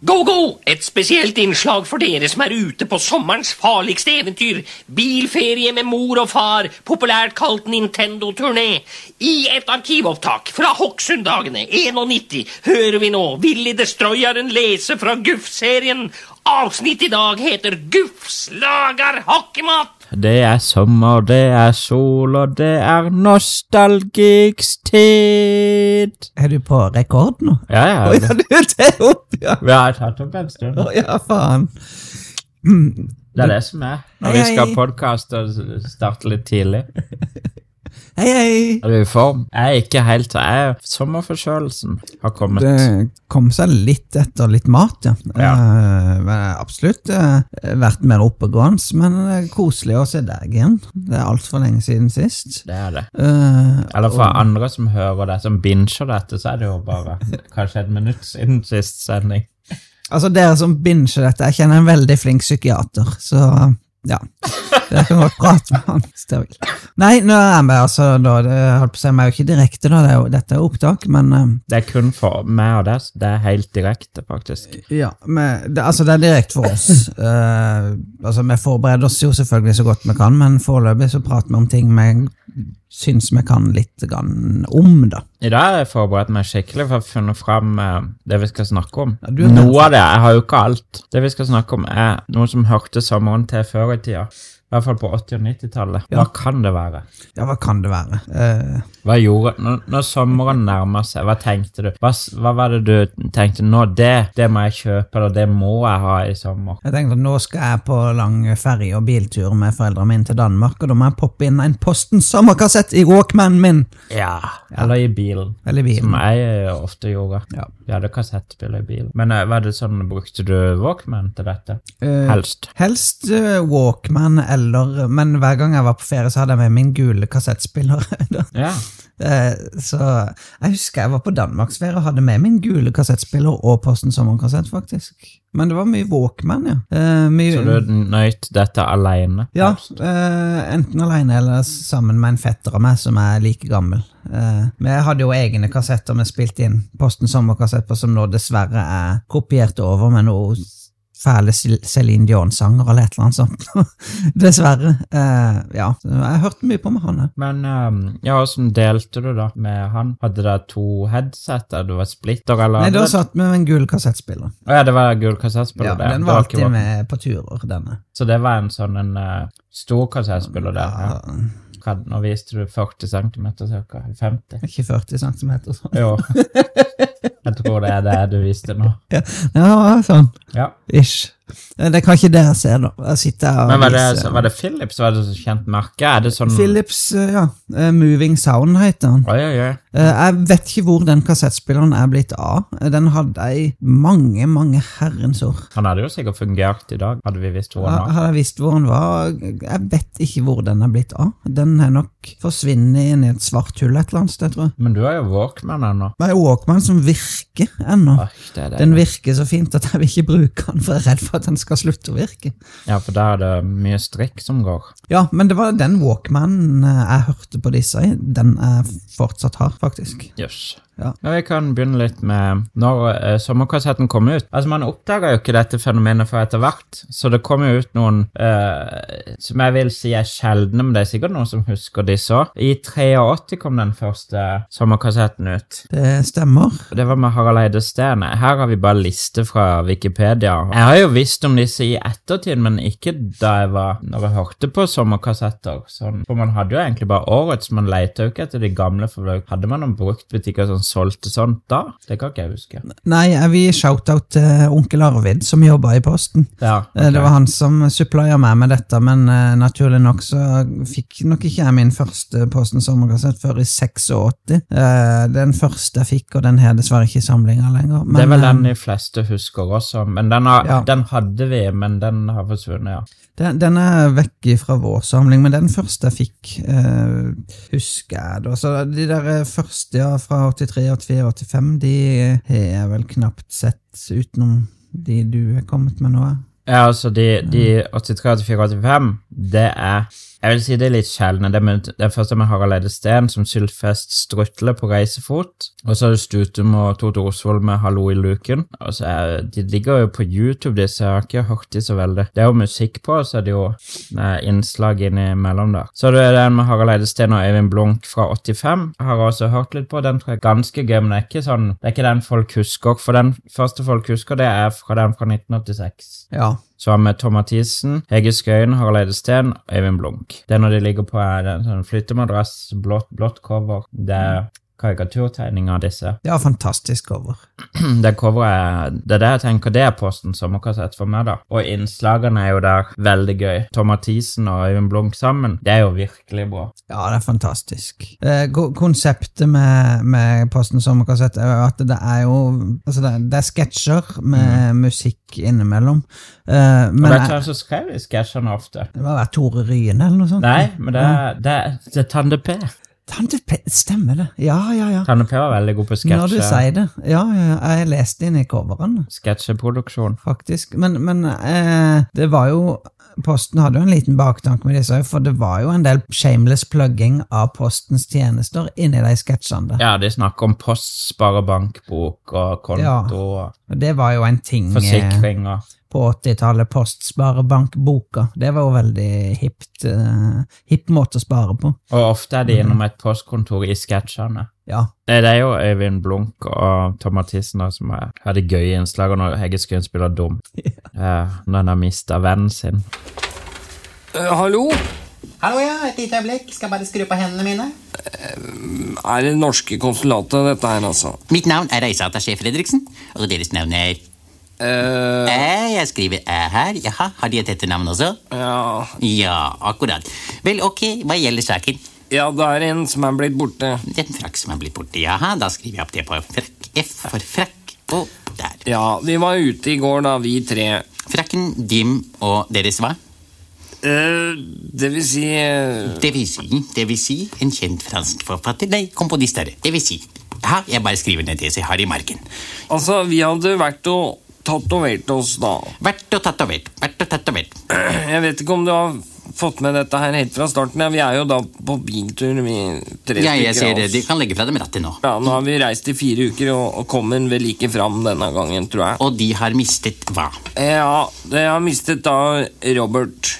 Go, go! Et spesielt innslag for dere som er ute på sommerens farligste eventyr. Bilferie med mor og far, populært kalt Nintendo-turné. I et arkivopptak fra Hokksund-dagene 91 hører vi nå Willy Destroyeren lese fra Guff-serien. Avsnittet i dag heter Guffs lager hakkemat. Det er sommer, det er sol, og det er nostalgiks tid. Er du på rekord nå? Ja, ja. Å ja, du er opp, ja. Vi har tatt opp en stund. Å ja, faen. Det er det som er. Når vi Hei, skal hei. podkaste og starte litt tidlig. Hei, hei. Er du i form? Jeg er ikke helt jeg er Sommerforkjølelsen har kommet. Det kom seg litt etter litt mat, ja. Eh, men jeg har absolutt eh, vært mer oppegående, men det er koselig å se deg igjen. Det er altfor lenge siden sist. Det er det. Eh, Eller for andre som hører det, som binger dette, så er det jo bare kanskje et minutt siden sist sending. altså, dere som binger dette, jeg kjenner en veldig flink psykiater, så ja. Dere kan godt prate med han hvis dere vil. Nei, nå er vi altså da, det holdt på å si, vi er jo ikke direkte, da, det er jo, dette er jo opptak, men eh, Det er kun for meg og deg. så Det er helt direkte, faktisk. Ja, men det, altså det er direkte for oss. Eh, altså Vi forbereder oss jo selvfølgelig så godt vi kan, men foreløpig så prater vi om ting vi syns vi kan litt grann om, da. I dag har jeg forberedt meg skikkelig for å finne fram eh, det vi skal snakke om. du er noe av det, jeg har jo ikke alt. Det vi skal snakke om er noe som hørte sommeren til før i tida. I hvert fall på 80- og 90-tallet. Hva kan det være? Ja, hva kan det være? Eh, Hva gjorde, når, når sommeren nærmer seg, hva tenkte du? Hva, s- hva var det du tenkte nå? Det, det må jeg kjøpe, eller det må jeg ha i sommer. jeg tenkte at nå skal jeg på lang ferje- og biltur med foreldrene mine til Danmark, og da må jeg poppe inn en Posten sommerkassett i Walkmanen min! Ja. Eller i bilen. Eller bilen. Som jeg eh, ofte gjorde. Ja. Vi hadde kassettspiller i bilen. Men eh, var det sånn, brukte du Walkman til dette? Eh, Helst. Helst eh, Walkman eller Men hver gang jeg var på ferie, så hadde jeg med min gule kassettspiller. da. Ja. Eh, Så jeg husker jeg var på Danmarksferie og hadde med min gule kassettspiller og Posten sommerkassett, faktisk. Men det var mye Walkman, ja. Eh, mye, Så du nøyt dette alene? ja, eh, enten alene eller sammen med en fetter av meg som er like gammel. Eh, men jeg hadde jo egne kassetter vi spilte inn Posten sommerkassett på, som nå dessverre er kopiert over med noe fæle Cel- Celine Dion-sanger eller et eller annet sånt. dessverre. Eh, ja, Så jeg hørte mye på med han. jeg. Men ehm, ja, åssen delte du da med han? Hadde dere to headset? eller Det var splitter, eller? Nei, da hadde- satt vi med en gul kassettspiller. Å ja, det var gul kassettspiller. Ja, der. den Det var var ikke alltid vårt. med på turer, denne. Så det var en sånn en eh, stor kassettspiller der. Ja. Ja, Hva- Nå viste du 40 cm ca. 50. ikke 40 cm sånn. Jo. Jeg tror det er det du viste nå. Ja, sånn. Ja. Ish. Eh, Det kan ikke dere se, da. Jeg sitter her og Men var det, viser. var det Philips? Var det så kjent merke? Er det sånn Philips, eh, ja. eh, Moving Sound heter den. Oi, oi, oi. Eh, Jeg vet ikke hvor den kassettspilleren er blitt av. Eh, Den hadde jeg i mange, mange herrens år. Han hadde jo sikkert fungert i dag, hadde vi visst hvor Ha- han var. Hadde jeg visst hvor den var Jeg vet ikke hvor den er blitt av. Den er nok forsvunnet inn i et svart hull et eller annet sted, tror jeg. Men du har jo Walkman ennå. Det er Walkman som virker ennå. Oi, det er det. Den virker så fint at jeg vil ikke bruke den, for jeg er redd for at den skal slutte å virke. Ja, for der er det mye strikk som går. Ja, men det var den Walkmanen eh, jeg hørte på disse i. Den jeg fortsatt har, faktisk. Yes. Ja. Men vi kan begynne litt med når eh, sommerkassetten kom ut. Altså, Man oppdaga jo ikke dette fenomenet før etter hvert, så det kom jo ut noen eh, som jeg vil si er sjeldne, men det er sikkert noen som husker disse òg. I 83 kom den første sommerkassetten ut. Det stemmer. Det var med Harald Eide Steen. Her har vi bare liste fra Wikipedia. Jeg har jo visst om disse i ettertid, men ikke da jeg var når jeg hørte på sommerkassetter. Sånn. For man hadde jo egentlig bare årets, man leita jo ikke etter de gamle. For det- hadde man noen bruktbutikker som solgte sånt da? Det kan ikke jeg huske. Nei, jeg vil shout-out til onkel Arvid, som jobba i Posten. Ja, Eh, Det ok. var han som supplya meg med dette, men eh, naturlig nok så fikk nok ikke jeg min første Posten sommerkassett før i 86. Eh, den første jeg fikk, og den har dessverre ikke i samlinga lenger. det er vel eh, den de fleste husker også, men den, har, Ja. den hadde vi, men den har forsvunnet, ja. Den, den er vekk fra vår samling, men den første jeg fikk, eh, husker jeg. Da. Så de der eh, første ja, fra 83, 84, 85, de har jeg vel knapt sett utenom de du har kommet med nå. Ja, altså, de, de 83, 84, 85, det er Jeg vil si det er litt sjeldne. Det er med, den første med Harald Eide Steen som Sylfest Strutle på reisefot. Og så er det Stutum og Tord Osvold med Hallo i luken. Og så er, de ligger jo på YouTube, disse. Jeg har ikke hørt de så veldig. Det er jo musikk på, og så er det jo eh, innslag innimellom der. Så det er den med Harald Eide Steen og Øyvind Blunk fra 85. Jeg har også hørt litt på. Den tror jeg er ganske gøy, men det er ikke sånn Det er ikke den folk husker. For den første folk husker, det er fra den fra 1986. Ja. Så har vi Tom Mathisen, Hege Skøyen, Harald Eide Steen og Øyvind Blunk. Det er når de ligger på en en sånn flyttemadrass, blått, blått cover. Det er karikaturtegninger av disse. Det var fantastisk cover. Det coveret er Det er det jeg tenker det er Posten sommerkassett for meg, da. Og innslagene er jo der veldig gøy. Tom Mathisen og Øyvind Blunk sammen, det er jo virkelig bra. Ja, det er fantastisk. Eh, ko- konseptet med, med Posten sommerkassett er jo at det er jo altså det, det er sketsjer med musikk innimellom. Eh, Mm. Og men det er det, hvem som skrev de sketsjene ofte. det må være Tore Ryen eller noe sånt. Nei, men det er, det er, det er Tande P. Tante P Sånn, stemmer det. Ja, ja, ja. Tande P var veldig god på Når du sketsje- sier det. Ja, ja, ja. jeg leste inn i coveren. sketsjeproduksjon. faktisk. Men, men eh, det var jo Posten hadde jo en liten baktanke med disse, for det var jo en del shameless plugging av Postens tjenester inni de sketsjene. der. Ja, de snakker om post, sparebankbok og konto og Og det var jo en ting eh, forsikringer. på 80-tallet. Postsparebankboka. Det var jo veldig hipt. Eh, hipp måte å spare på. Og ofte er de innom et postkontor i sketsjene. Ja. Nei, Det er jo Øyvind Blunk og Tom Mathisen da, som er- har de gøye innslagene når Hege Skøyen spiller dum. Eh, når han har mista vennen sin. Eh, hallo? Hallo, ja. Et lite øyeblikk. Skal bare skru på hendene mine. Er det norske konsulatet, dette her, altså? Mitt navn er reiseattaché Fredriksen, og deres navn er eh Æ. Jeg skriver æ her. Jaha, har de et etternavn også? ja Ja, akkurat. Vel, ok, hva gjelder saken? Ja, det er en som er blitt borte. Den frakk som er blitt borte. Jaha, da skriver jeg opp det på frakk. F for frakk. Og der. Ja, vi var ute i går, da, vi tre. Frakken, Dim og deres hva? eh det vil si eh, Det vil si, det vil si, en kjent fransk forfatter. Nei, komponist er det. Det vil si. Jaha, jeg bare skriver ned det så jeg har i margen. Altså, vi hadde vært og tatovert oss, da. Vært og tatovert, vært og tatovert. Jeg vet ikke om du har fått med dette her helt fra starten. Ja, vi er jo da på biltur, vi tre Ja, jeg ser stykker av det. Du oss. kan legge fra dem rattet nå. Ja, nå har vi reist i fire uker, og, og kom en vel ikke fram denne gangen, tror jeg. Og de har mistet hva? Ja, jeg har mistet da Robert.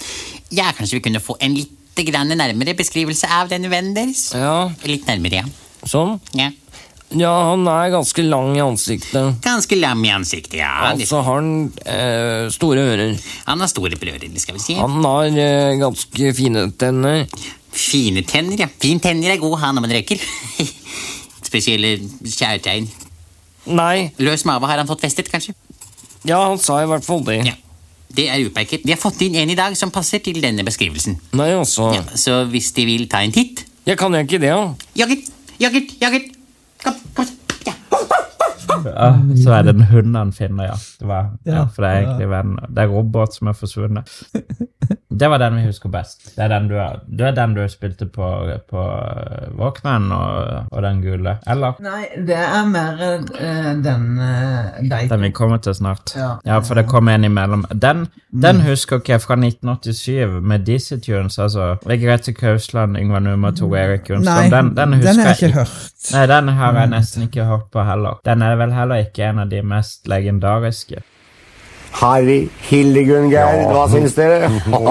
Ja, kanskje vi kunne få en litt grann nærmere beskrivelse av denne vennen deres? Ja, Litt nærmere, ja. sånn. ja. Ja, han er ganske lang i ansiktet. Ganske lam i ansiktet, ja. Og så har han eh, store ører. Han har store brødre, skal vi si. Han har eh, ganske fine tenner. Fine tenner, ja. Fin tenner er god, han, når man røyker. Spesielle kjærtegn. Nei, Løs mave har han fått festet, kanskje? ja, han sa i hvert fall det. Ja. Det er utmerket. Vi har fått inn en i dag som passer til denne beskrivelsen. Nei, altså. Ja, så hvis de vil ta en titt Jeg kan jo ikke det, da. Jagert, jagert, jagert! Kom, kom. Ja. Ja, så er det en hund han finner, ja. Det var, Ja, ja for det er egentlig vennen. Det er Robert som er forsvunnet. Det var den vi husker best. Det er den du, er, det er den du spilte på, på eh, Walkman og, og den gule. Eller? Nei, det er mer eh, den eh, Den vi kommer til snart. Ja. for det kom en imellom. Den, den husker ikke jeg fra 1987 med Dizzie Tunes, altså. Regrete Kausland, Yngvar Nummer, Tor Erik Nei, Jonsson. Den, den husker den har jeg jeg ikke ikke. hørt. Nei, den har jeg nesten ikke hørt på heller. Den er vel heller ikke en av de mest legendariske. Harry, Hildegunn, Geir, hva syns dere? Å,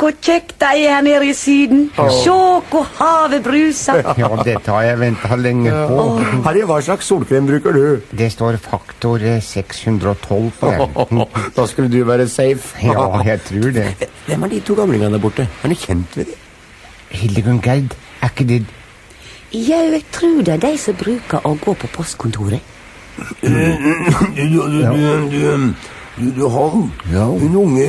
hvor kjekt det er her nede i Syden. Se hvor havet bruser. Ja, dette har jeg venta lenge på. Harry, hva slags solkrem bruker du? Det står faktor eh, 612 på den. Da skulle du være safe. Ja, jeg tror det. Hvem er de to gamlingene der borte? Er du kjent med dem? Hildegunn Gerd, er ikke det Jau, jeg tror det er de som bruker å gå på postkontoret. Du, du, du, du, du, du, du Holm. Ja. Hun unge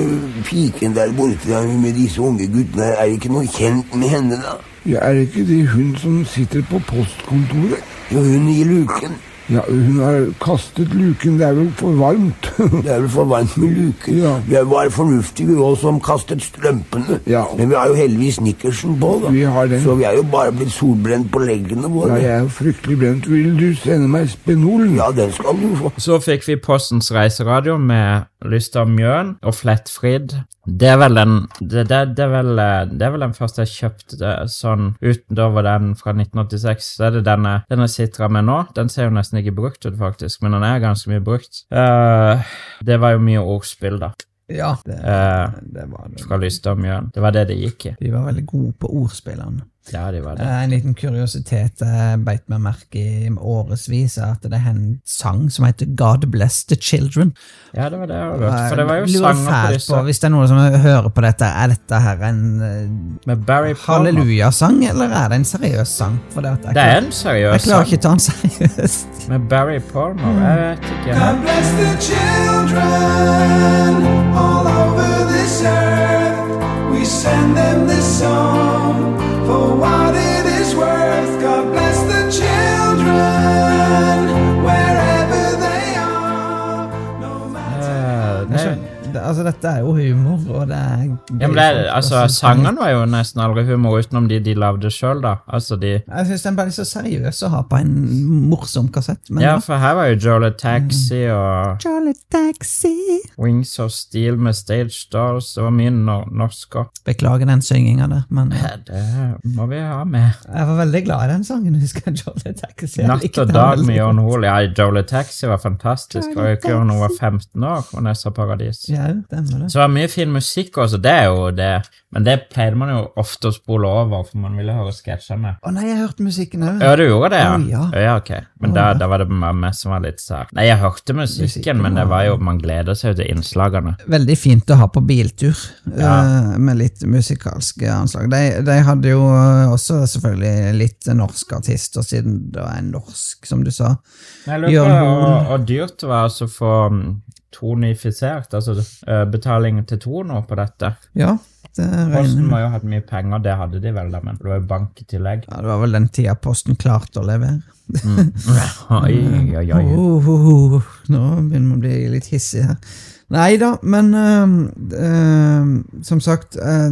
piken der borte der med disse unge guttene, er det ikke noe kjent med henne, da? Ja, Er ikke det hun som sitter på postkontoret? Jo, hun i luken. Ja, hun har kastet luken, det er vel for varmt. Det er vel for varmt med luken. Ja. Vi var fornuftige, vi òg, som kastet strømpene. Ja. Men vi har jo heldigvis nikkersen på, da. Vi har den. Så vi er jo bare blitt solbrent på leggene Ja, våre. jeg er jo fryktelig brent. Vil du sende meg spenolen? Ja, den skal du få. Så fikk vi Postens reiseradio med Lyster Mjøen og Flettfrid. Det er vel den det, det, det, er vel, eh, det er vel den første jeg kjøpte eh, sånn utover den fra 1986. Så er det denne, denne jeg sitter med nå. Den ser jo nesten ikke brukt ut, faktisk, men den er ganske mye brukt. Eh, det var jo mye ordspill, da, Ja, det, Eh, det var det. fra Lyster Mjøen. Det var det det gikk i. De var veldig gode på ordspillene. Ja, de var det. Eh, En liten kuriositet jeg beit meg merke i årevis, er at det er en sang som heter God Bless The Children. Ja, det var det jeg har hørt. For Jeg det var jo lurer sanger på fælt disse Hvis det er noen som hører på dette, er dette her en eh, med Barry Palmer. hallelujasang, eller er det en seriøs sang? For det, at jeg, Det er klarer- en seriøs jeg klarer sang ikke å ta den seriøst. med Barry Palmer. Jeg vet ikke. Eh, Jeg det- skjønner- det- Altså, dette er jo humor, og det er Ja, men det, er- altså, Sangene var jo nesten aldri humor utenom de de lagde sjøl, da. Altså, de Jeg syns den ble så seriøs å ha på en morsom kassett. Men Ja, det var for her var jo Jolie Taxi og Charlie Mm. Taxi Wings of Steel med Stage Stars. Det var mye nor norsk òg. Beklager den synginga der, men eh, Det må vi ha med. jeg var veldig glad i den sangen. husker jeg Charlie Taxi. Jeg Natt likte og den dag veldig med godt. John Hoel. Ja, Jolie Taxi var fantastisk. Det var jo ikke hun var 15 år, Vanessa Paradis. Ja, stemmer det. Så det var mye fin musikk også, det er jo det. Men det pleide man jo ofte å spole over, for man ville høre sketsjene. Å nei, jeg hørte musikken òg. Ja, du gjorde det, ja? Å, ja. ok. Men da, da var det bare meg som var litt sær. Nei, jeg hørte musikken, Musikken men det var jo, man gleder seg jo til innslagene. Veldig fint å ha på biltur, Ja. eh, med litt musikalske anslag. De, de hadde jo eh, også selvfølgelig litt norske artister, siden det er norsk, som du sa. Jeg lurer Jørn på Hoel. hvor- hvor dyrt det var altså å få mm, tonifisert, altså eh, betaling til Tono på dette. Ja, det regner Posten med. må jo ha hatt mye penger, det hadde de vel da, men det var jo bank i tillegg. Ja, det var vel den tida Posten klarte å levere. Oi, oi, oi. Oh, oh, oh. Nå begynner man å bli litt hissig her. Nei da, men eh, eh, som sagt eh,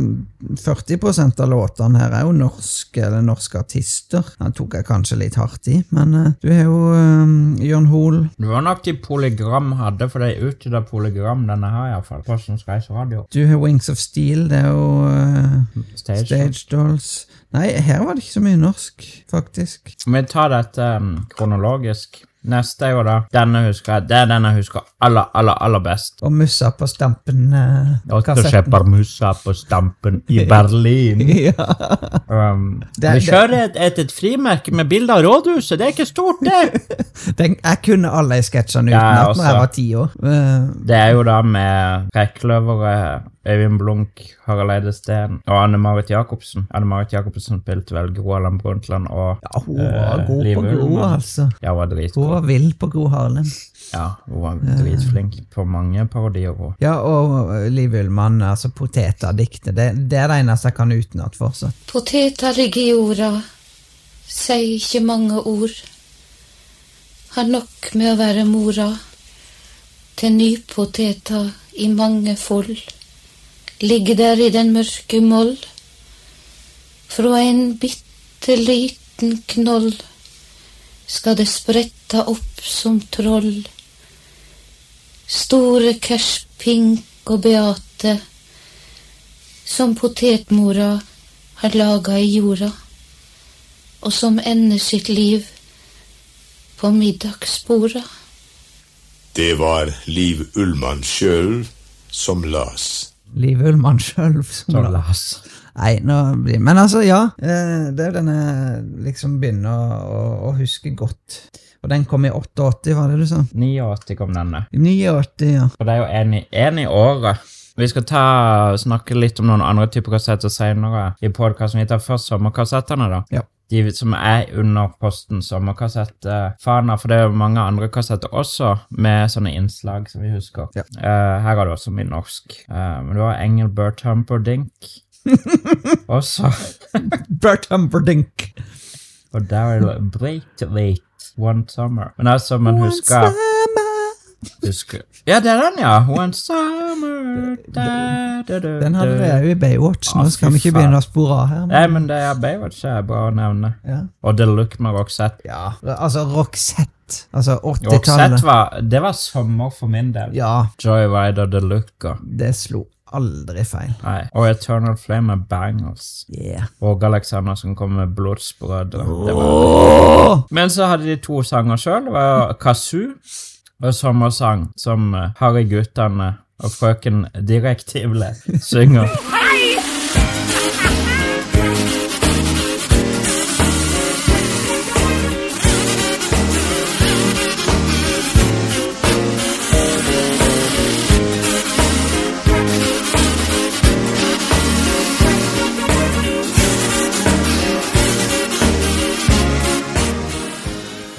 40 av låtene her er jo norske eller norske artister. Den tok jeg kanskje litt hardt i, men eh, du har jo eh, Jørn Hoel. Det var nok de Polygram hadde, for det er utvida Polygram, denne her iallfall. Postens Reiseradio. Du har Wings of Steel. Det er jo eh, Stage. Stage Dolls. Nei, her var det ikke så mye norsk, faktisk. Vi tar dette um, kronologisk. Neste er jo da Denne husker jeg. Det er den jeg husker aller, aller, aller best. Og Mussa på eh, Otto Stampen-kassetten. Skjepper Musa på Stampen i Berlin. ja. Um, Det- vi kjører et, et, et frimerke med bilde av rådhuset. Det er ikke stort, det! Den, jeg kunne alle sketsjene Ja, altså. utenat når også. jeg var ti år. Eh, Det er jo da med Rekkløveret, Øyvind Blunk, Harald Eide Steen og Anne Marit Jacobsen. Anne Marit Jacobsen spilte vel Groaland Brundtland og Ja, hun var eh, god Liv på Gro, Ullmann. altså. Ja, hun var Hun dritgod. var vill på Gro Harlem. Ja, hun var dritflink på mange parodier. hun. Ja, og Liv Ullmann, altså potetadiktet. Det, det er det eneste jeg kan utenat fortsatt. Poteter ligger i jorda, sier ikke mange ord. Har nok med å være mora til nypoteter i mange fold. Ligger der i den mørke moll, fra en bitte liten knoll skal det spretta opp som troll. Store kerspink og beate som potetmora har laga i jorda, og som ender sitt liv på middagsborda. Det var Liv Ullmann sjøl som las. Liv Ullmann sjøl. som Så la- Lars. Nei, nå blir Men altså, ja. eh, Det er jo den jeg liksom begynner å, å, å huske godt. Og den kom i 88, var det du sa? 89 kom denne. I 89, ja. For det er jo en i, en i året. Vi skal ta, snakke litt om noen andre typer kassetter senere i podcasten. Vi tar først sommerkassettene, da. Ja. De som er under posten sommerkassettfaner, for det er jo mange andre kassetter også med sånne innslag som vi husker. Ja. Eh, her er det også mye norsk. Eh, men det var Engelbert Humperdink også. Bert Humperdink. Og Daryl Breitweit One Summer. Men altså, man husker Summer. Husker. Ja, det er den, ja. One summer da, da, da, Den hadde da. vi jo i Baywatch. Nå Ah, skal fy vi ikke faen. begynne å spore av her. Nei, men det er Baywatch det er bra å nevne. Ja. Og The Look med Roxette. Ja, altså Roxette. Altså 80-tallet. Roxette var, det var sommer for min del. Ja, Joyride og The Look og det slo aldri feil. Nei. Og Eternal Flame er bangers. Yeah. Åge Aleksandersen kom med blodsbrød. og det var- Men så hadde de to sanger sjøl. Kazoo og Sommersang, som eh, Harry Guttene og frøken Direktivle synger.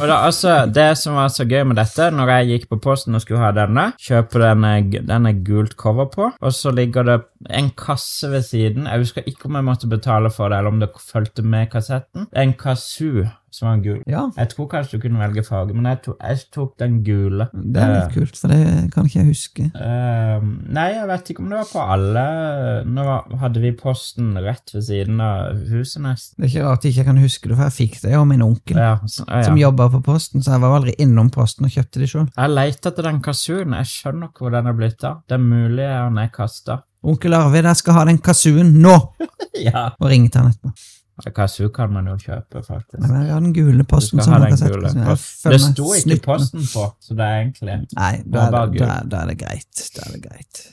Og da, altså, Det som var så gøy med dette, når jeg gikk på posten og skulle ha denne, kjøper denne, denne gult cover på, og så ligger det en kasse ved siden. Jeg husker ikke om jeg måtte betale for det, eller om det fulgte med kassetten. En kazoo som var gul. Ja. Jeg tror kanskje du kunne velge farge, men jeg, to, jeg tok den gule. Det er litt kult, for det kan ikke jeg huske. Ehm, nei, jeg vet ikke om det var på alle. Nå var- hadde vi posten rett ved siden av huset nesten. Det er ikke rart jeg ikke kan huske det, for jeg fikk det jo av min onkel, Ja, så, ja. som jobba på Posten, så jeg var aldri innom Posten og kjøpte det sjøl. Jeg leter etter den kassunen. Jeg skjønner ikke hvor den er blitt av. Det er mulig den er kasta. Onkel Arvid, jeg skal ha den kazooen nå! Ja. Og ringte han etterpå. Kassu kan man jo kjøpe, Nei, faktisk. men jeg har den gule Du posten skal som ha har sånn den kassett. gule. Jeg føler Det meg sto ikke snytt nå. posten på, så det er egentlig Nei, da var er, bare det, gul. da, er- da er det greit. Da er det greit.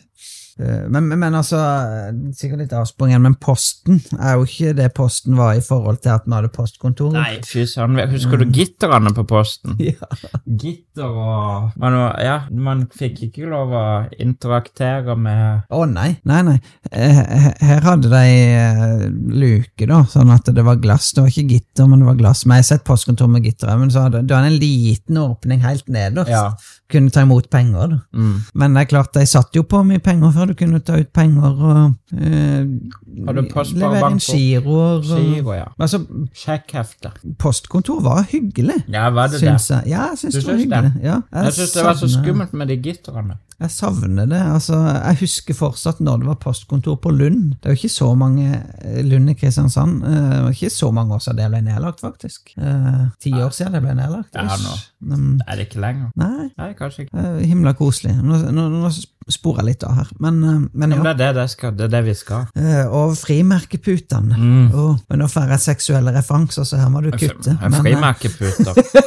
Eh, Men, men- men altså, eh, sikkert litt avsprung igjen, men Posten er jo ikke det Posten var i forhold til at vi hadde postkontor. Nei, fy søren. Husker du gitterne på posten? Mm. Ja. Gitter og man, var- Ja, man fikk ikke lov å interaktere med Å nei, nei, nei. Eh, he- Her hadde de eh, luke, da, sånn at det var glass. Det var ikke gitter, men det var glass. Men jeg har sett postkontor med gitter, også, men så hadde du hadde en liten åpning helt nederst. Ja. Kunne ta imot penger, da. Mm. Men det er klart, de satt jo på mye penger før du kunne ta ut penger og eh, Hadde postsparebank levere inn på- giroer. og- Giro, ja. Altså, Sjekkhefte. postkontor var hyggelig. Ja, var det Syns det? jeg. Ja, jeg syns Du det var syns det? hyggelig. Ja, Jeg syns det var så savner- skummelt med de gitterne. jeg savner det. altså, Jeg husker fortsatt når det var postkontor på Lund. Det er jo ikke så mange eh, Lund i Kristiansand. eh, Det var ikke så mange år siden det ble nedlagt, faktisk. Eh, Ti år siden det ble nedlagt. Ja, nå. ish. Men, Er det ikke lenger? Mm. nei, Nei, kanskje ikke. eh, himla koselig. Nå, nå, nå sporer jeg litt av her, men, eh, men Men ja. det er det, det, skal, det er det vi skal. Eh, Og frimerkeputene. Åh, men nå får jeg seksuelle referanser, så her må du kutte. Mm. Altså, En Men, eh, frimerkeputer.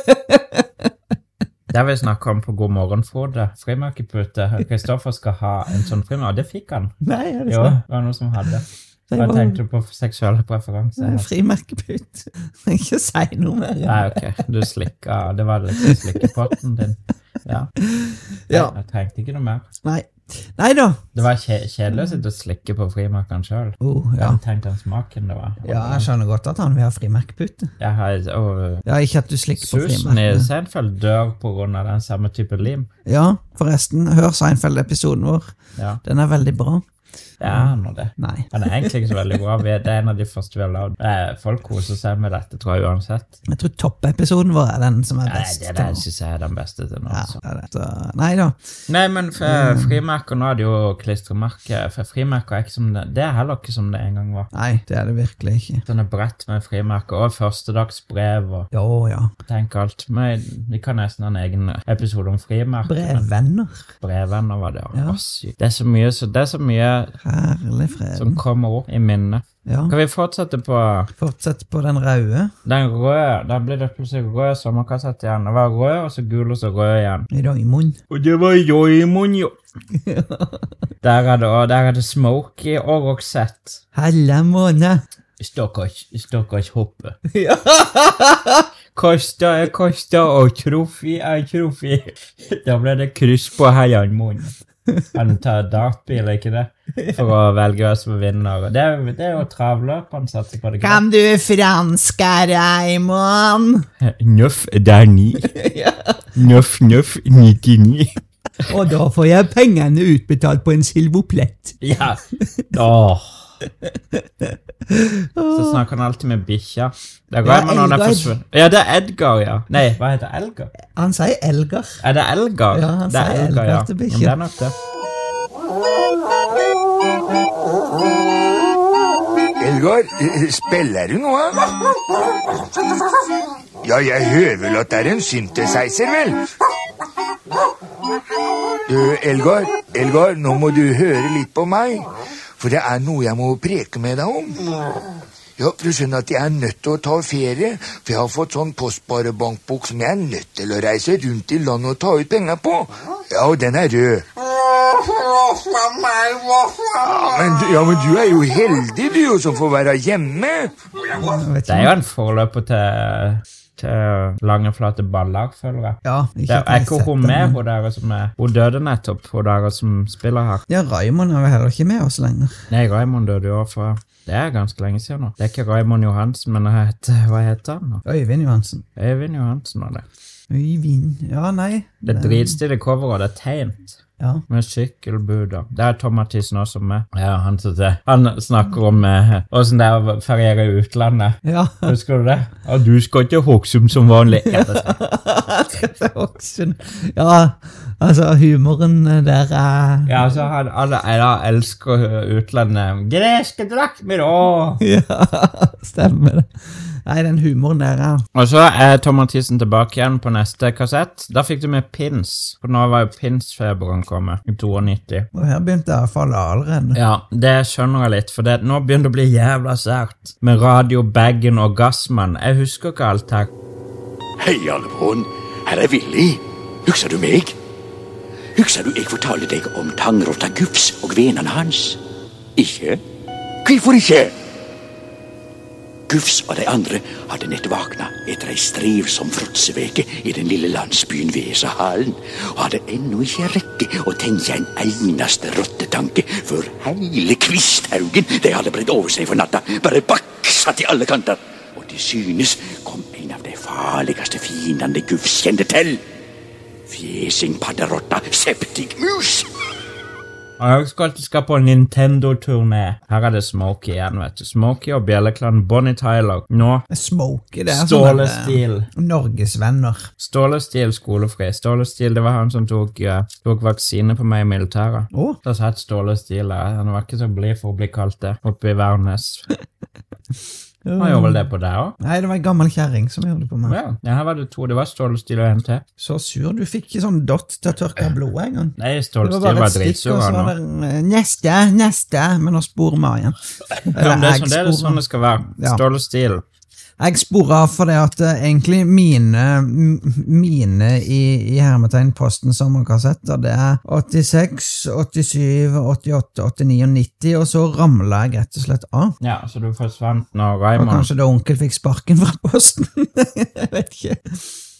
Det har vi snakka om på God morgen, Frode. Frimerkepute. Kristoffer skal ha en sånn frimerke. Og det fikk han. Nei, er det Jo, sant? det var noen som hadde. Det Jeg var- tenkte på seksuelle preferanser. Eh, her. Frimerkeput. Ikke si noe mer. Nei, ok. Du slikka Det var liksom slikkepotten din. Ja. Ja. Jeg trengte ikke noe mer. Nei. Nei da. Det var kje kjedelig å sitte og slikke på frimerkene sjøl. Oh, ja. Tenk den smaken det var. Ja, jeg skjønner godt at han vil ha frimerkepute. Jeg har, og Ja, ikke at du slikker på Susan i frimerkene. Seinfeld dør på grunn av den samme type lim. Ja, forresten, hør Seinfeld-episoden vår. Ja, Den er veldig bra. det er nå det. Nei. Den er egentlig ikke så veldig bra. Vi- Det er en av de første vi har lagd. Eh, Folk koser seg med dette, tror jeg, uansett. Jeg tror toppepisoden vår er den som er Nei, best. det der syns jeg er den beste til nå. ja, Mm. altså. det er det. Så, nei da. Nei, men f- frimerker nå er det jo klistremerker. For frimerker er ikke som det Det er heller ikke som det en gang var. Nei, det er det virkelig ikke. Sånne brett med frimerker og førstedagsbrev og Jo, ja. tenk alt. Men vi kan nesten ha en egen episode om frimerker. men Brevvenner. Brevvenner var det. Ja. Å, sykt. Det er så mye, så det er så mye Herlig som fred. kommer opp i minnet. Ja. Kan vi fortsette på Fortsett på den røde. Den røde, da blir det plutselig rød sommerkassett igjen. Det var rød, og så gul, og så rød igjen. I Doimund. Og det var Joimon, jo. der er det, og der er det Smokey og Roxette. Helle måne. Stakkars, stakkars hoppe. Kosta er kosta, og troffi er troffi. Da ble det kryss på Heianmoen. Han tar dartbil, er ikke det? For å velge oss som vinner. Det er, det er jo travløperen satser på det. Kan du fransk, Raimond? Nøff, det er ni. Nøff, nøff, 99. Og da får jeg pengene utbetalt på en silvoplett. Ja. Åh. Så snakker han alltid med bikkja. Det er Ja, Raymond når det er Elgar. forsvunnet. Ja, det er Edgar, ja. Nei, hva heter Elgar? Han sier Elgar. Er det Elgar? Ja, han det er sier Elgar til bikkja. Ja, men det er nok det. Elgar, eh, spiller du noe? Ja, jeg hører vel at det er en synthesizer, vel? Du, Elgar, Elgar, nå må du høre litt på meg. For det er noe jeg må preke med deg om. Ja, du skjønner at jeg er nødt til å ta ferie, for jeg har fått sånn postsparebankbok som jeg er nødt til å reise rundt i landet og ta ut penger på. Ja, og den er rød. Ja, men, du- ja, men du er jo heldig, du, jo, som får være hjemme. Det er jo en forløper til, til lange, flate baller, føler jeg. Ja, ikke det at er jeg har ikke sett hun det, med, men- hun der som er Hun døde nettopp, hun der som spiller her. Ja, Raymond er jo heller ikke med oss lenger. Nei, Raymond døde jo også for Det er ganske lenge siden nå. Det er ikke Raymond Johansen, men jeg heter, hva heter han nå? Øyvind Johansen. Øyvind Johansen var det. Øyvind Ja, nei. Det er dritstille cover, og det er tegnt. Ja. Med sykkelbuder. Det er Tom Mathisen også med. Ja, han, som det- han snakker om eh, åssen det er å feriere i utlandet. Ja. Husker du det? Ja, du skal til Hoksum som vanlig. Ja, det skal jeg. Det er Hokksund. Ja, altså, humoren der er Ja, så han, alle alle elsker eh, utlandet. Greske drakmer, åh! Ja, stemmer det. Nei, den humoren der er Og så er Tom Mathisen tilbake igjen på neste kassett. Da fikk du med pins. For nå var jo pinsfeberen kommet i 92. Og her begynte jeg å falle allerede. Ja, det skjønner jeg litt, for det, nå begynner det å bli jævla sært. Med radio, bagen og Gassmann. Jeg husker ikke alt her. Hei, Alvån. Her er Willy. Husker du meg? Husker du jeg fortalte deg om tangrotta Gufs og vennene hans? Ikke? Hvorfor ikke? Gufs og de andre hadde nett våkna etter ei strevsom fråtseveke i den lille landsbyen Vesahallen, og hadde ennå ikke rekket å tenke en eneste rottetanke før hele Kvisthaugen de hadde bredt over seg for natta, bare baksa til alle kanter. Og til synes kom en av de farligste fiendene Gufs kjente til. Fjesing padderotta septikmus. Og jeg husker at jeg skal på en Nintendo-turné. Her er det Smokey igjen, vet du. Smokey og Bjelleklan, Bonnie Tyler. Nå Smokey, det er Ståle sånn at, eh, Stil. Norgesvenner. Ståle Stil skolefri. Ståle Stil, det var han som tok, eh, tok vaksine på meg i militæret. Å. Da satt Ståle Stil der. Han var ikke så blid for å bli kalt det, oppe i Værnes. Han gjorde vel det på deg òg? Nei, det var ei gammel kjerring som gjorde det på meg. Ja. ja, her var det to. Det var Ståle Stil og en til. Så sur. Du fikk ikke sånn dott til å tørke av blodet engang. Nei, Det Ståle var Stil bare var et stikk, dritsur. og så han var også. det eh, neste, neste, men nå sporer vi av igjen. Ja, men det, er sånn, det er Jeg det sånn det skal være. Ja. Ståle Stil. Jeg sporer av fordi at eh, egentlig mine, m- mine i, i hermetegn Posten sommerkassetter, det er 86, 87, 88, 89 og 90, og så ramla jeg rett og slett av. Ja, så du forsvant når Og Raymond kanskje da onkel fikk sparken fra posten. jeg vet ikke.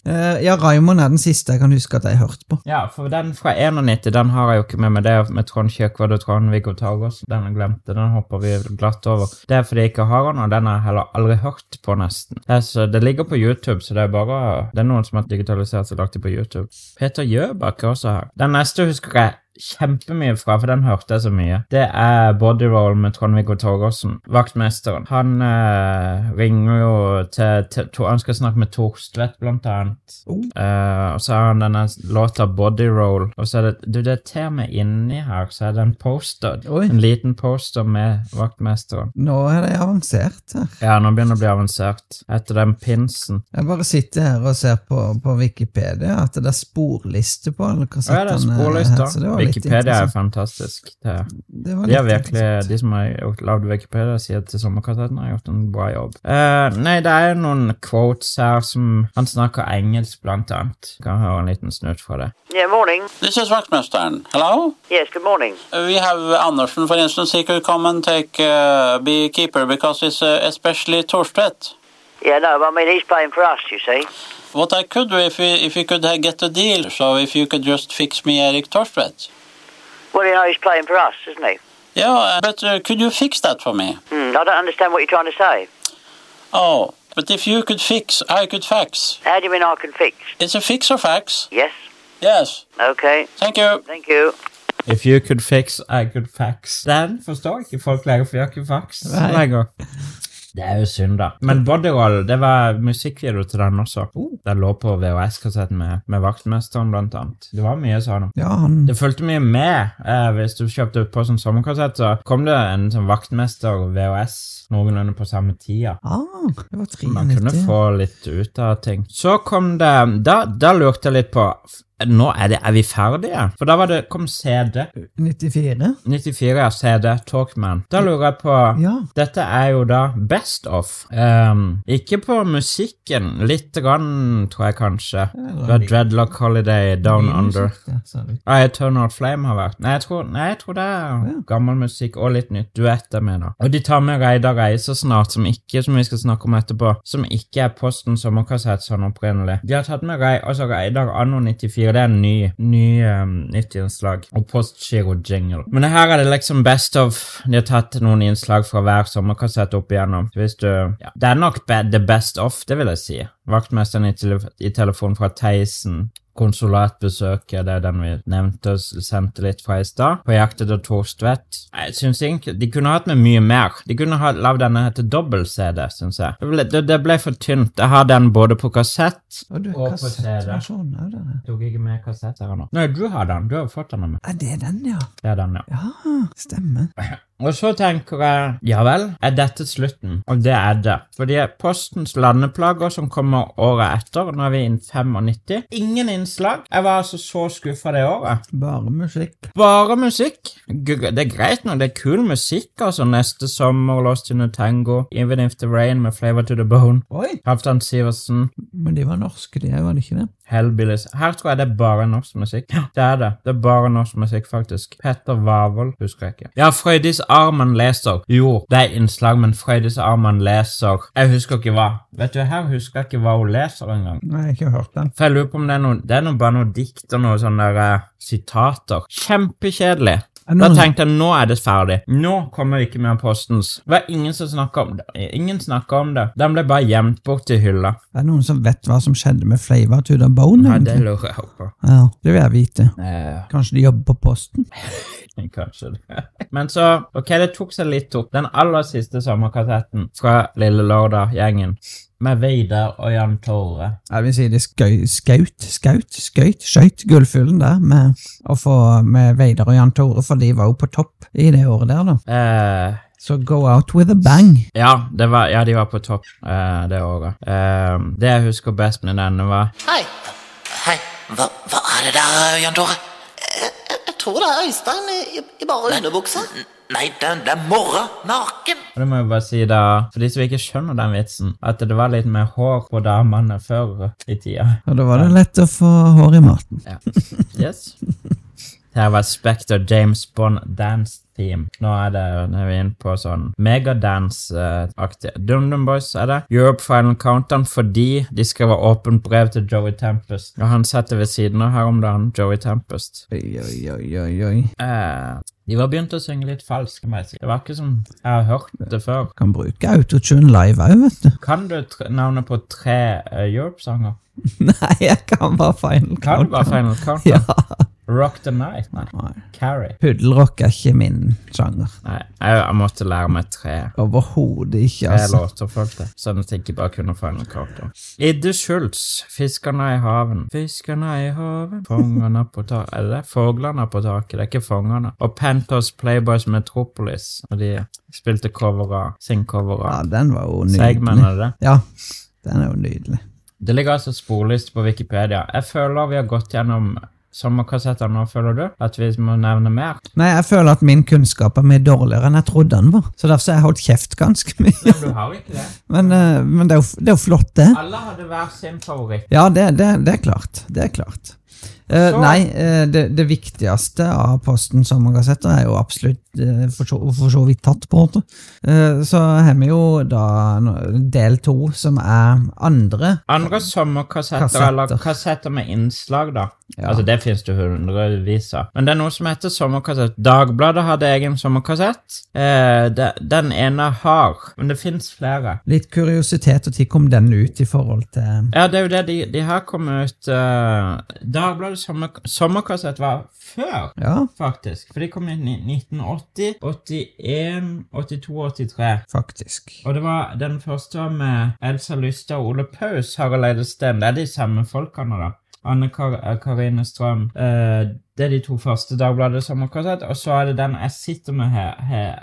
Eh, Ja, Raymond er den siste jeg kan huske at jeg hørte på. Ja, for den fra 91, den har jeg jo ikke med meg. Det er med Trond Kjøkvad og Trond-Viggo Torgås. Den jeg glemte, den hopper vi glatt over. Det er fordi jeg ikke har den, og den har jeg heller aldri hørt på, nesten. Det, er så, det ligger på YouTube, så det er bare Det er noen som har digitalisert og lagt det på YouTube. Peter Gjøbakk er også her. Den neste husker jeg kjempemye fra, for den hørte jeg så mye. Det er Bodyroll med Trond-Viggo Torgersen, vaktmesteren. Han eh, ringer jo til, til, to- Han skal snakke med Torstvedt, blant annet. Eh, og så har han denne låta Body Roll. Og så er det du, det er til og med inni her, så er det en poster. Oi. En liten poster med vaktmesteren. Nå er det avansert her. Ja, nå begynner det å bli avansert. Etter den pinsen. Jeg bare sitter her og ser på, på Wikipedia at det er sporliste på alle Å ja, det er kassettene. her, så det sporlista. var litt Wikipedia er interessant. fantastisk. Det. Det var De, har litt virkelig, interessant. de som har gjort- lagd Wikipedia, sier til Sommerkvartetten har gjort en bra jobb. Eh, nei, det er noen quotes her som Han snakker engelsk, blant annet. Kan høre en liten snutt fra det. Yeah, morning. This is Vaktmesteren. Hello? Yes, good morning. Uh, We have Andersen, for instance. He could come and take uh, beekeeper because he's uh, especially Torstvedt. Yeah, no, I mean, he's playing for us, you see. What I could do if we, if we could uh, get a deal, so if you could just fix me Erik Torstvedt. Well, you know, he's playing for us, isn't he? Yeah, uh, but uh, could you fix that for me? Hmm, I don't understand what you're trying to say. Oh, but if you could fix, I could fax. How do you mean I can fix? It's a fix or fax? Yes. Yes. Okay. Thank you. Thank you. If you could fix, I could fax. Den forstår ikke folk lenger, for jeg har ikke fax Nei. lenger. Det er jo synd, da. Men Bodyroll, det var musikkvideo til den også. Den lå på VHS-kassetten med, med Vaktmesteren, blant annet. Det var mye sånn. Ja, han- Det fulgte mye med. Eh, hvis du kjøpte på som sommerkassett, så kom det en sånn Vaktmester VHS noenlunde på samme tida. Ah, det var 93. Man kunne få litt ut av ting. Så kom det Da, da lurte jeg litt på f- Nå er, det, er vi ferdige? For da var det, kom CD. 94? 94 er CD, Talkman. Da lurer jeg på Dette er jo da Best of. Ehm, ikke på musikken. Litt, grann, tror jeg kanskje. Eller Du har litt- Dreadlock Holiday, Down Mye Under. musikk der, sa du. Ja, Eternal Flame har vært. Nei, jeg tror, nei, jeg tror det er gammel musikk og litt nytt duett jeg mener. Og de tar med Reidar Reiser snart, som ikke, som vi skal snakke om etterpå, som ikke er Posten sommerkassett sånn opprinnelig. De har tatt med Rei, altså Reidar Anno 94, det er en ny, ny um, nytt innslag, og Postgiro Jingle. Men her er det liksom best of, de har tatt noen innslag fra hver sommerkassett opp igjennom. Så Hvis du, ja, det er nok be, the best of, det vil jeg si. Vaktmesteren i, tele i telefon fra Theisen, konsulatbesøket, det er den vi nevnte og sendte litt fra i stad, på jakt etter Torstvedt. Jeg synes egentlig De kunne hatt med mye mer. De kunne ha lagd denne her til dobbel-CD, synes jeg. Det ble, det, det ble for tynt. Jeg har den både på kassett Og du, Og på kassettversjonen er det det. Tok ikke med kassett her nå. Nei, du har den. Du har fått den av meg. Er det den, ja? Det er den, ja. Ja, stemmer. Og så tenker jeg, ja vel, er dette slutten? Og det er det. Fordi Postens landeplager som kommer året etter, nå er vi inn 95, ingen innslag. Jeg var altså så skuffa det året. Bare musikk. Bare musikk. G- Det er greit nå, det er kul musikk, altså. Neste sommer, Lost in a Tango, Even If The Rain med Flavor to the Bone, Oi. Halvdan Sivertsen, Men de var norske, de òg, var det ikke det? Hellbillies. Her tror jeg det er bare norsk musikk. Ja, Det er det. Det er bare norsk musikk, faktisk. Petter Wavold, husker jeg ikke. Ja, Frøydis Arman leser. Jo, det er innslag, men Frøydis Arman leser. Jeg husker ikke hva. Vet du, her husker jeg ikke hva hun leser engang. Nei, jeg har ikke hørt den. For jeg lurer på om det er noe, det er noe bare noe dikt og noe sånne der, eh, sitater. Kjempekjedelig. Er det Da noen- tenkte jeg nå er det ferdig. Nå kommer vi ikke mer postens. Det var ingen som snakket om det. Ingen snakket om det. Den ble bare gjemt bort i hylla. Er det noen som vet hva som skjedde med Flavor to the Bone? Ja, det egentlig? lurer jeg på. Ja, det vil jeg vite. Eh. Kanskje de jobber på Posten? Kanskje det. Men så, ok, det tok seg litt opp. Den aller siste sommerkassetten fra Lille Lørdag-gjengen med Veidar og Jan Tore. Jeg vil si de skøy, skaut, skaut, skøyt, skøyt gullfuglen der med, å få, med Veidar og Jan Tore, for de var jo på topp i det året der, da. Eh, Så go out with a bang. ja, det var, ja, de var på topp eh, det året. Eh, det jeg husker best med denne var Hei. Hei. Hva, hva er det der, Jan Tore? Eh, Jeg tror det er Øystein i, i bare underbuksa. Nei, det, er- det er Morra naken. og det må jeg bare si da, For de som ikke skjønner den vitsen, at det var litt mer hår på damene før i tida. Og da var det lett å få hår i maten. Ja. Yes. Her var Spectre James Bond dance theme. Nå er, det, nå er vi inne på sånn eh, megadance-aktig. DumDum Boys er det. Europe Final Countdown fordi de skriver åpent brev til Joey Tempest. Og han setter ved siden av her om dagen, Joey Tempest. Oi, oi, oi, oi, oi. Eh, de var begynt å synge litt falsk, må jeg si. Det var ikke som jeg har hørt det før. Kan bruke autotune live òg, vet du. Kan du tr navnet på tre eh, Europe-sanger? Nei, jeg kan bare final Kan du bare countdown. Final Countdown? Rock the Night? Nei. Carrie? Puddelrock er ikke min sjanger. Nei, jeg, jeg måtte lære meg tre. Overhodet ikke, Tre altså. låter fulgte jeg, sånn at jeg ikke bare kunne få en kake. Idde Schultz, 'Fiskerne i haven'. Fiskerne i haven, fangerne på taket Er det det? Fuglene på taket, det er ikke fangerne. Og Panthers Playboys Metropolis, og de spilte cover av sin cover av Ja, den var jo nydelig. Segmen, er det det? Ja, den er jo nydelig. Det ligger altså sporliste på Wikipedia. Jeg føler vi har gått gjennom sommerkassetter nå, føler du? At vi må nevne mer? Nei, jeg føler at min kunnskap er mye dårligere enn jeg trodde den var, så derfor har jeg holdt kjeft ganske mye. Men du har ikke det. Men, eh, men det, er jo, det er jo flott, det. Alle hadde hver sin favoritt. Ja, det, det, det er klart. Det er klart. Eh, Så- nei, eh, det, det viktigste av Posten sommerkassetter er jo absolutt eh, for så, for så vidt tatt, på en måte. Eh, så har vi jo da no- del to, som er andre. Andre sommerkassetter, Kassetter. eller kassetter med innslag, da. Altså, Det finnes det hundrevis av. Men det er noe som heter sommerkassett. Dagbladet hadde egen sommerkassett. Eh, de, den ene har, men det finnes flere. Litt kuriositet, og når kom den ut i forhold til Ja, det er jo det. De, de har kommet ut eh, Da Dagbladet sommer, sommerkassett var før, Ja. faktisk. For de kom i ni- 1980, 81, 82, 83. Faktisk. Og det var den første var med Elsa Lystad og Ole Paus, Harald Eide Steen. Det er de samme folkene, da. Anne Kar eh, Karine Strøm. Eh, det er de to første Dagbladet sommerkassett. Og så er det den jeg sitter med her, her,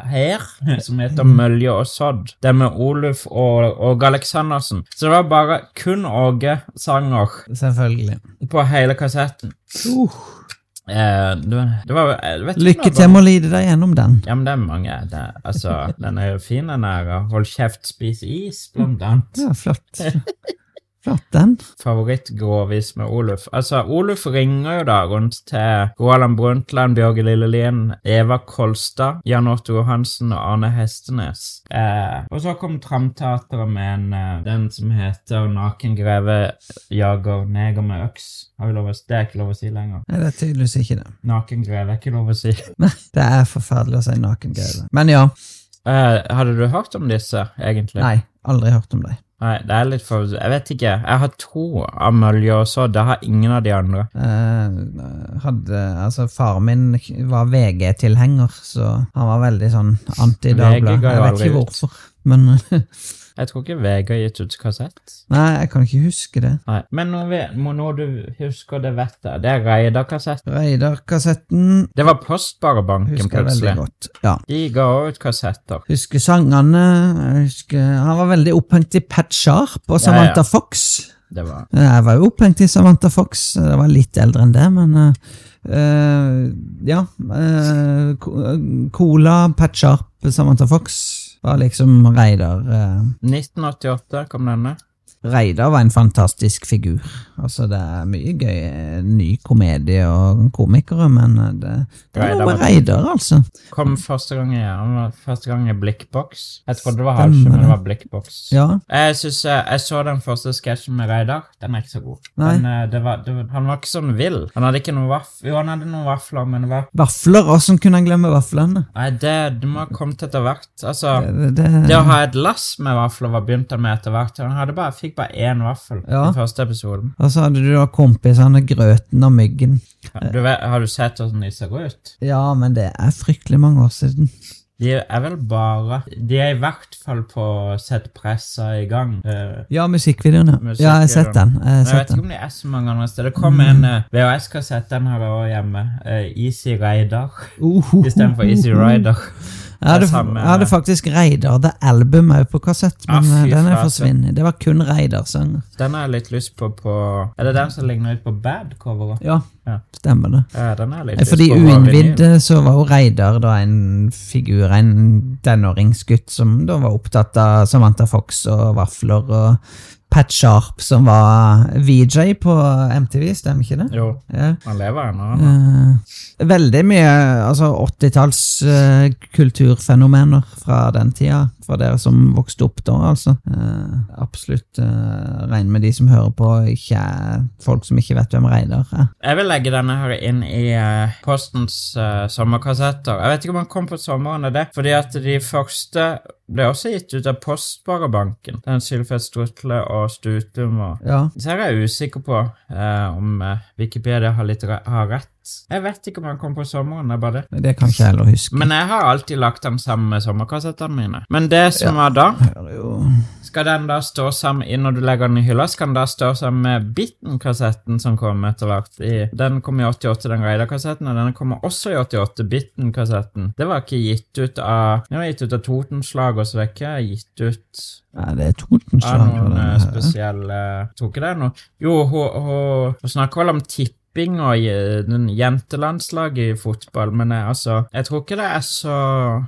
her som heter Mølje og Sodd. Det er med Oluf og Åge Aleksandersen. Så det var bare kun Åge-sanger Selvfølgelig. på hele kassetten. Eh, det, var- det var, jeg vet ikke om det Uh. Lykke var- til med å lide deg gjennom den. ja, men det er mange. Det, altså, den er jo fin, den der. Hold kjeft, spis is, blant annet. Ja, flott. Flott, den. Favorittgrovis med Oluf. Altså, Oluf ringer jo da rundt til Roland Brundtland, Bjørge Lillelien, Eva Kolstad, Jan Otto Johansen og Arne Hestenes. Eh, og så kom Tramteatret med en, eh, den som heter Naken greve jager neger med øks. Har vi lov å, det er ikke lov å si lenger. Nei, det er tydeligvis ikke det. Naken greve er ikke lov å si. Nei, det er forferdelig å si nakengreier. Men ja. Eh, hadde du hørt om disse, egentlig? Nei, aldri hørt om deg. Nei, det er litt for... Jeg vet ikke. Jeg har to av møljer og sodd. Jeg har ingen av de andre. Eh, hadde, altså, faren min var VG-tilhenger, så han var veldig sånn VG anti-Dagbladet. ga jo Jeg vet ikke aldri ut. hvorfor, men Jeg tror ikke VG har gitt ut kassett. Nei, jeg kan ikke huske det. Nei. Men nå, vet, må- nå du husker det vet jeg. Det er Reidar-kassett. Reidar-kassetten Det var Postbarebanken husker jeg veldig plutselig. godt. Ja. De ga også ut kassetter. Husker sangene. jeg Husker, han var veldig opphengt i Pat Sharp og Samantha Ja, ja. Fox. Det var... Jeg var jo opphengt i Samantha Fox. Jeg var litt eldre enn det, men eh, eh, Ja. eh, ko- eh, cola, Pat Sharp, Samantha Fox var liksom Reidar. eh. 1988 kom denne. Reidar var en fantastisk figur. Altså, det er mye gøy. eh, Ny komedie og komikere, men eh, det, det er Reidar noe med var- Reidar, altså. Kom første gang i, han var første gang i Blikkboks. Jeg trodde det var Stemmer Halsjø, men det. det var Blikkboks. Ja. Jeg synes jeg, jeg så den første sketsjen med Reidar. Den er ikke så god. Nei. Men, eh, det var, det var, han var ikke sånn vill. Han hadde ikke noen vafler. Jo, han hadde noen vafler, men det var Vafler, åssen kunne han glemme vaflene? Nei, det, det må ha kommet etter hvert. Altså, Det- det, det- å ha et lass med vafler var begynt med etter hvert. Han hadde bare, fikk bare én vaffel i Ja. den første episoden. Og så altså, hadde du da kompisene Grøten og Myggen. Du vet, har du sett hvordan de ser ut? Ja, men det er fryktelig mange år siden. De er vel bare De er i hvert fall på å sette pressa i gang. eh, Ja, musikkvideoen, ja. musikkvideoen. Ja, jeg har sett den. Jeg sånn. Men har jeg vet sett ikke den. Mm. om det er så mange andre steder. Det kom en eh, VHS-kassett, den har jeg også hjemme. eh, Easy Rider Uhuhu. istedenfor Easy Rider. Jeg hadde, Det samme- jeg hadde faktisk Reidar The Album òg på kassett, Ah, men fy eh, den er flate. forsvunnet. Det var kun Reidar-sanger. Den har jeg litt lyst på på Er det den som ligner ut på Bad-coveret? Ja, Ja. stemmer det. Ja, den er litt Eh, For de lyst på vår vinyl. uinnvidde så var jo Reidar da en figur, en tenåringsgutt som da var opptatt av Samantha Fox og vafler og Pat Sharp, som var VJ på MTV, stemmer ikke det? Jo, Ja. han lever ennå. han. Eh, veldig mye altså 80-talls eh, kulturfenomener fra den tida, for dere som vokste opp da, altså. Eh, absolutt eh, regn med de som hører på, ikke er folk som ikke vet hvem Reidar er. Jeg vil legge denne her inn i eh, Postens eh, sommerkassetter. Jeg vet ikke om han kom på sommeren, er det? Fordi at de første ble også gitt ut av Postbarebanken. Den Sylfest Strutle og Stutum og Ja. Så her er jeg usikker på eh, om eh, Wikipedia har, litt re har rett. Jeg vet ikke om han kom på sommeren, det er bare det. Det kan Mm. ikke jeg heller huske. Men jeg har alltid lagt dem sammen med sommerkassettene mine. Men det som var da, Hører jo skal den da stå sammen i- når du legger den i hylla, skal den da stå sammen med Bitten-kassetten som kom etter hvert. I, den kom i 88, den Reidar-kassetten, og denne kommer også i 88, Bitten-kassetten. Det var ikke gitt ut av Det var gitt ut av Totenslager, så det er ikke gitt ut Nei, det er Totenslag. av noen det eh, her. spesielle eh, Tror ikke det er noe Jo, hun- hun hun snakker vel om tipping og eh, den jentelandslaget i fotball, men jeg, altså Jeg tror ikke det er så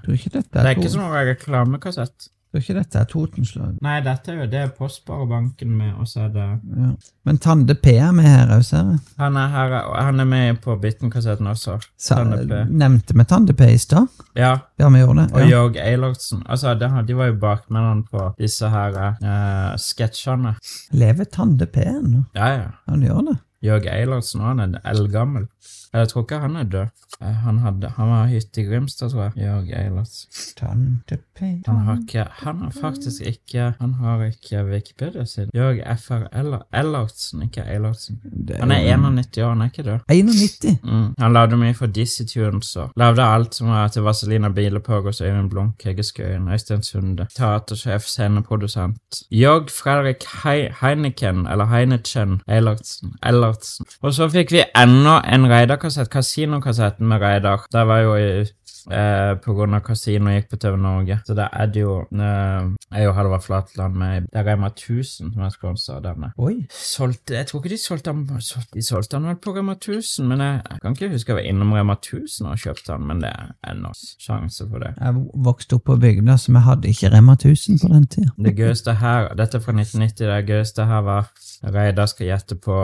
Tror ikke dette Det er, er ikke Toten- sånn reklamekassett. Tror ikke dette er Totenslag. Nei, dette er jo det er Postbarebanken med, og så er det Ja. Men Tande P er med her òg, ser jeg. Han er, her, og han er med på Bitten-kassetten også. Sa- Tande P. Nevnte vi Tande P i stad? Ja, Ja, vi gjorde det. og Ja. Jorg Eilertsen. Altså, det, har- de var jo bakmennene på disse her eh, sketsjene. Lever Tande P ennå? Ja, ja. Han gjør det. Jørg Eilertsen, og han er eldgammel. Jeg tror ikke han er død. Eh, Han, hadde, han var hytte i Grimstad, tror jeg. Jørg Eilertsen. Han har ikke Han har faktisk ikke Han har ikke Wikipedia sin. Jørg F.R. Eller- Ellertsen, ikke Eilertsen. Han er 91 år, han er ikke død. 91? Mm. Han lagde mye for Dizzie Tunes og lagde alt som var til Vazelina Bilepågås, Øyvind Blunk, Heggeskøyen, Øystein Sunde, teatersjef, sceneprodusent. Jørg Fredrik Hei Heineken, eller Heineken, Eilertsen, Ellertsen. Og så fikk vi enda en Reidar-kassett, Kasinokassetten med Reidar. Der var jo i Eh, på grunn av kasino gikk på TV Norge. Så da er det jo eh, Jeg og Halvard Flatland med Det er Rema 1000 som er sponsa av denne. Oi. Solgte, jeg tror ikke de solgte han sol- De solgte han vel på Rema 1000, men jeg, jeg kan ikke huske jeg var innom Rema 1000 og kjøpte han, men det er ennå sjanse for det. Jeg vokste opp på bygda, så vi hadde ikke Rema 1000 på den tida. Det gøyeste her Dette er fra 1990. Det gøyeste her var Reidar skal gjette på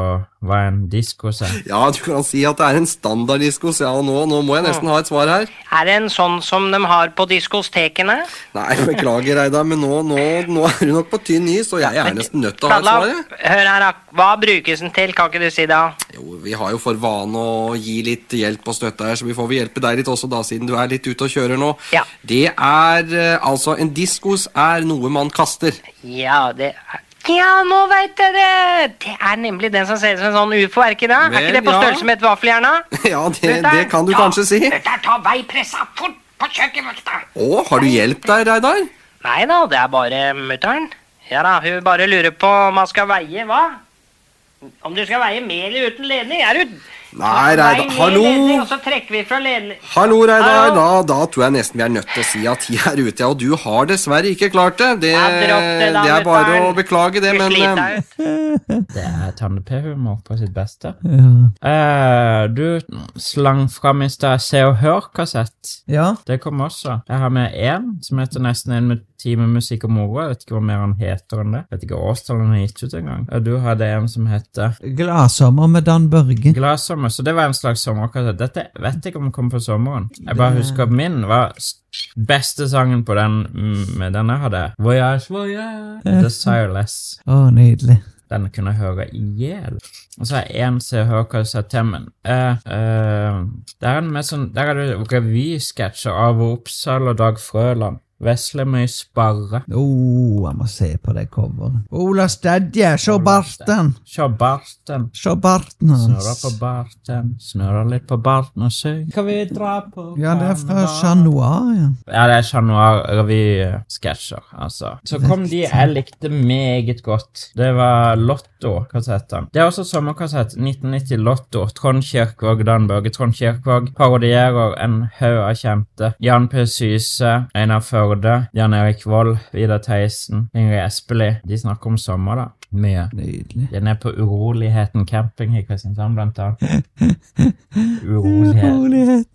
hva en disko er. Ja, du kan si at det er en standarddiskos, ja, og nå, nå må jeg nesten ha et svar her. Er det en sånn som de har på diskostekene? Nei, beklager, Reidar, men nå, nå, nå er du nok på tynn is, og jeg er nesten nødt til å ha et svar. Fladla, jeg. hør her, da. hva brukes den til, kan ikke du si det? Jo, vi har jo for vane å gi litt hjelp og støtte her, så vi får vel hjelpe deg litt også da, siden du er litt ute og kjører nå. Ja. Det er eh, altså En diskos er noe man kaster. Ja, det er... Ja, nå vet jeg det! Det er nemlig den som ser ut som en sånn ufo, er ikke det? Er Vel, ikke det på ja. størrelse med et vaffeljern, da? ja, det, Dette er- det kan du Ja, kanskje si. Dette er ta vei pressa fort på kjøkkenvakta! Å, har du hjelp der, Reidar? Nei da, det er bare mutter'n. Ja da, hun bare lurer på om man skal veie hva? Om du skal veie med eller uten ledning? Er du Nei, Vei Reidar. med Hallo! Ledning, og så trekker vi fra ledning. Hallo, Reidar. Hallo. Da, da tror jeg nesten vi er nødt til å si at de er ute, ja. Og du har dessverre ikke klart det. Det, Ja, dropp det eh, da, Eh, det er bare mutter'n. å beklage det, Du men sliter eh, Det er Tande-P-humor på sitt beste. Ja. Eh, du slang fram i stad Se og Hør-kassett. Ja. Det kom også. Jeg har med én som heter Nesten en mu- time musikk og moro. Jeg vet ikke hva mer han heter enn det. Jeg vet ikke årstallet han har gitt ut engang. Og du hadde en som heter Gladsommer med Dan Børge. Gladsommer, så det var en slags sommerkassett. Dette vet jeg ikke om det kom på sommeren. Jeg bare Det- husker at min var s- beste sangen på den mm, med den jeg hadde. Voyage, voyage, Desireless. Å, nydelig. Den kunne jeg høre i hjel. Og så er én Se og Hør-kassett til, men eh, eh, Der er det mer sånn, der er det revysketsjer av Oppsal og Dag Frøland. Veslemøy Sparre. Å, jeg må se på det coveret. Ola Stedje, se barten! Se barten. Se barten Snurra hans. på barten, snurra litt på barten og syng. Kan vi dra på Ja, det er fra Chat Noir, ja. Ja, det er Chat Noir-revysketsjer, altså. Så kom de jeg likte meget godt. Det var Lotto-kassettene. Det er også sommerkassett 1990 Lotto. Trond Kirkvaag, Dan Børge Trond Kirkvaag parodierer en haug av kjente. Jan P. Syse, Einar Førde, Jan Erik Vold, Vidar Theisen, Ingrid Espelid. De snakker om sommer, da. Mye. Nydelig. Den er på Uroligheten camping i Kristiansand, blant annet. Urolighet.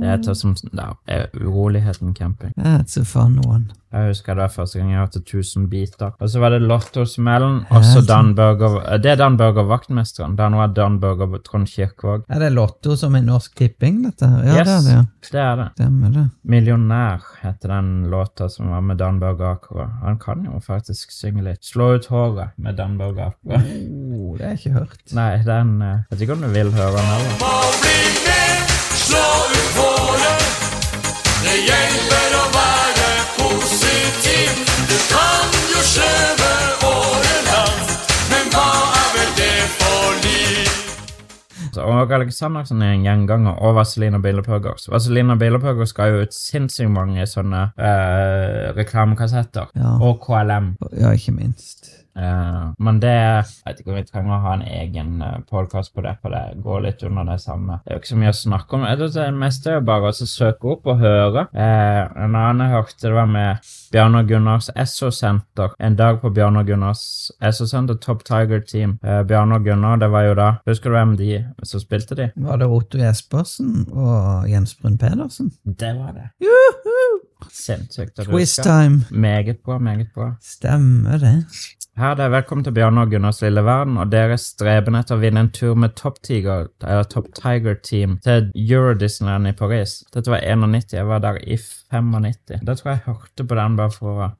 Det heter som ja, eh, Uroligheten camping. That's a fun one. Jeg husker det var første gang jeg hørte 1000 biter. Og så var det Lottosmellen, og så Dan Børger eh, Det er Dan Børger Vaktmesteren. Da nå er Dan Børger Trond Kirkvaag. Er det Lotto som er Norsk Tipping, dette her? Ja, Yes, det er det, ja. det er det. Stemmer det. Millionær heter den låta som var med Dan Børge Akerø. Han kan jo faktisk synge litt. Slå ut håret med Dan Børge Akerø. Oh, det har jeg ikke hørt. Nei, den eh, Vet ikke om du vil høre den heller. Slå ut håret. Det hjelper å være positiv. Du kan jo skjeve året langt, men hva er vel det for liv? Så, Og Aleksandersen er en gjenganger, og Vazelina Billepøggers. Vazelina Billepøggers ga jo ut sinnssykt mange sånne eh, reklamekassetter. Ja. Og KLM. Ja, ikke minst. Eh, men det Jeg vet ikke om vi trenger å ha en egen uh, podkast på det, for det går litt under det samme. Det er jo ikke så mye å snakke om. Jeg tror Det meste er jo bare å søke opp og høre. Eh, en annen jeg hørte, det var med Bjarnar Gunnars SO-senter. En dag på Bjarnar Gunnars SO-senter, Top Tiger Team. Eh, Bjarnar Gunnar, det var jo da Husker du hvem de som spilte de? Var det Otto Jespersen og Jens Brun Pedersen? Det var det. Sinnssykt. at du Quiz husker. time. Meget bra, meget bra. Stemmer det. Her er det velkommen til Bjarne og Gunnars lille verden og deres streben etter å vinne en tur med Top Tiger, eller Top Tiger Team til Euro Disneyland i Paris. Dette var 91, jeg var der i 95. Da tror jeg jeg hørte på den bare for å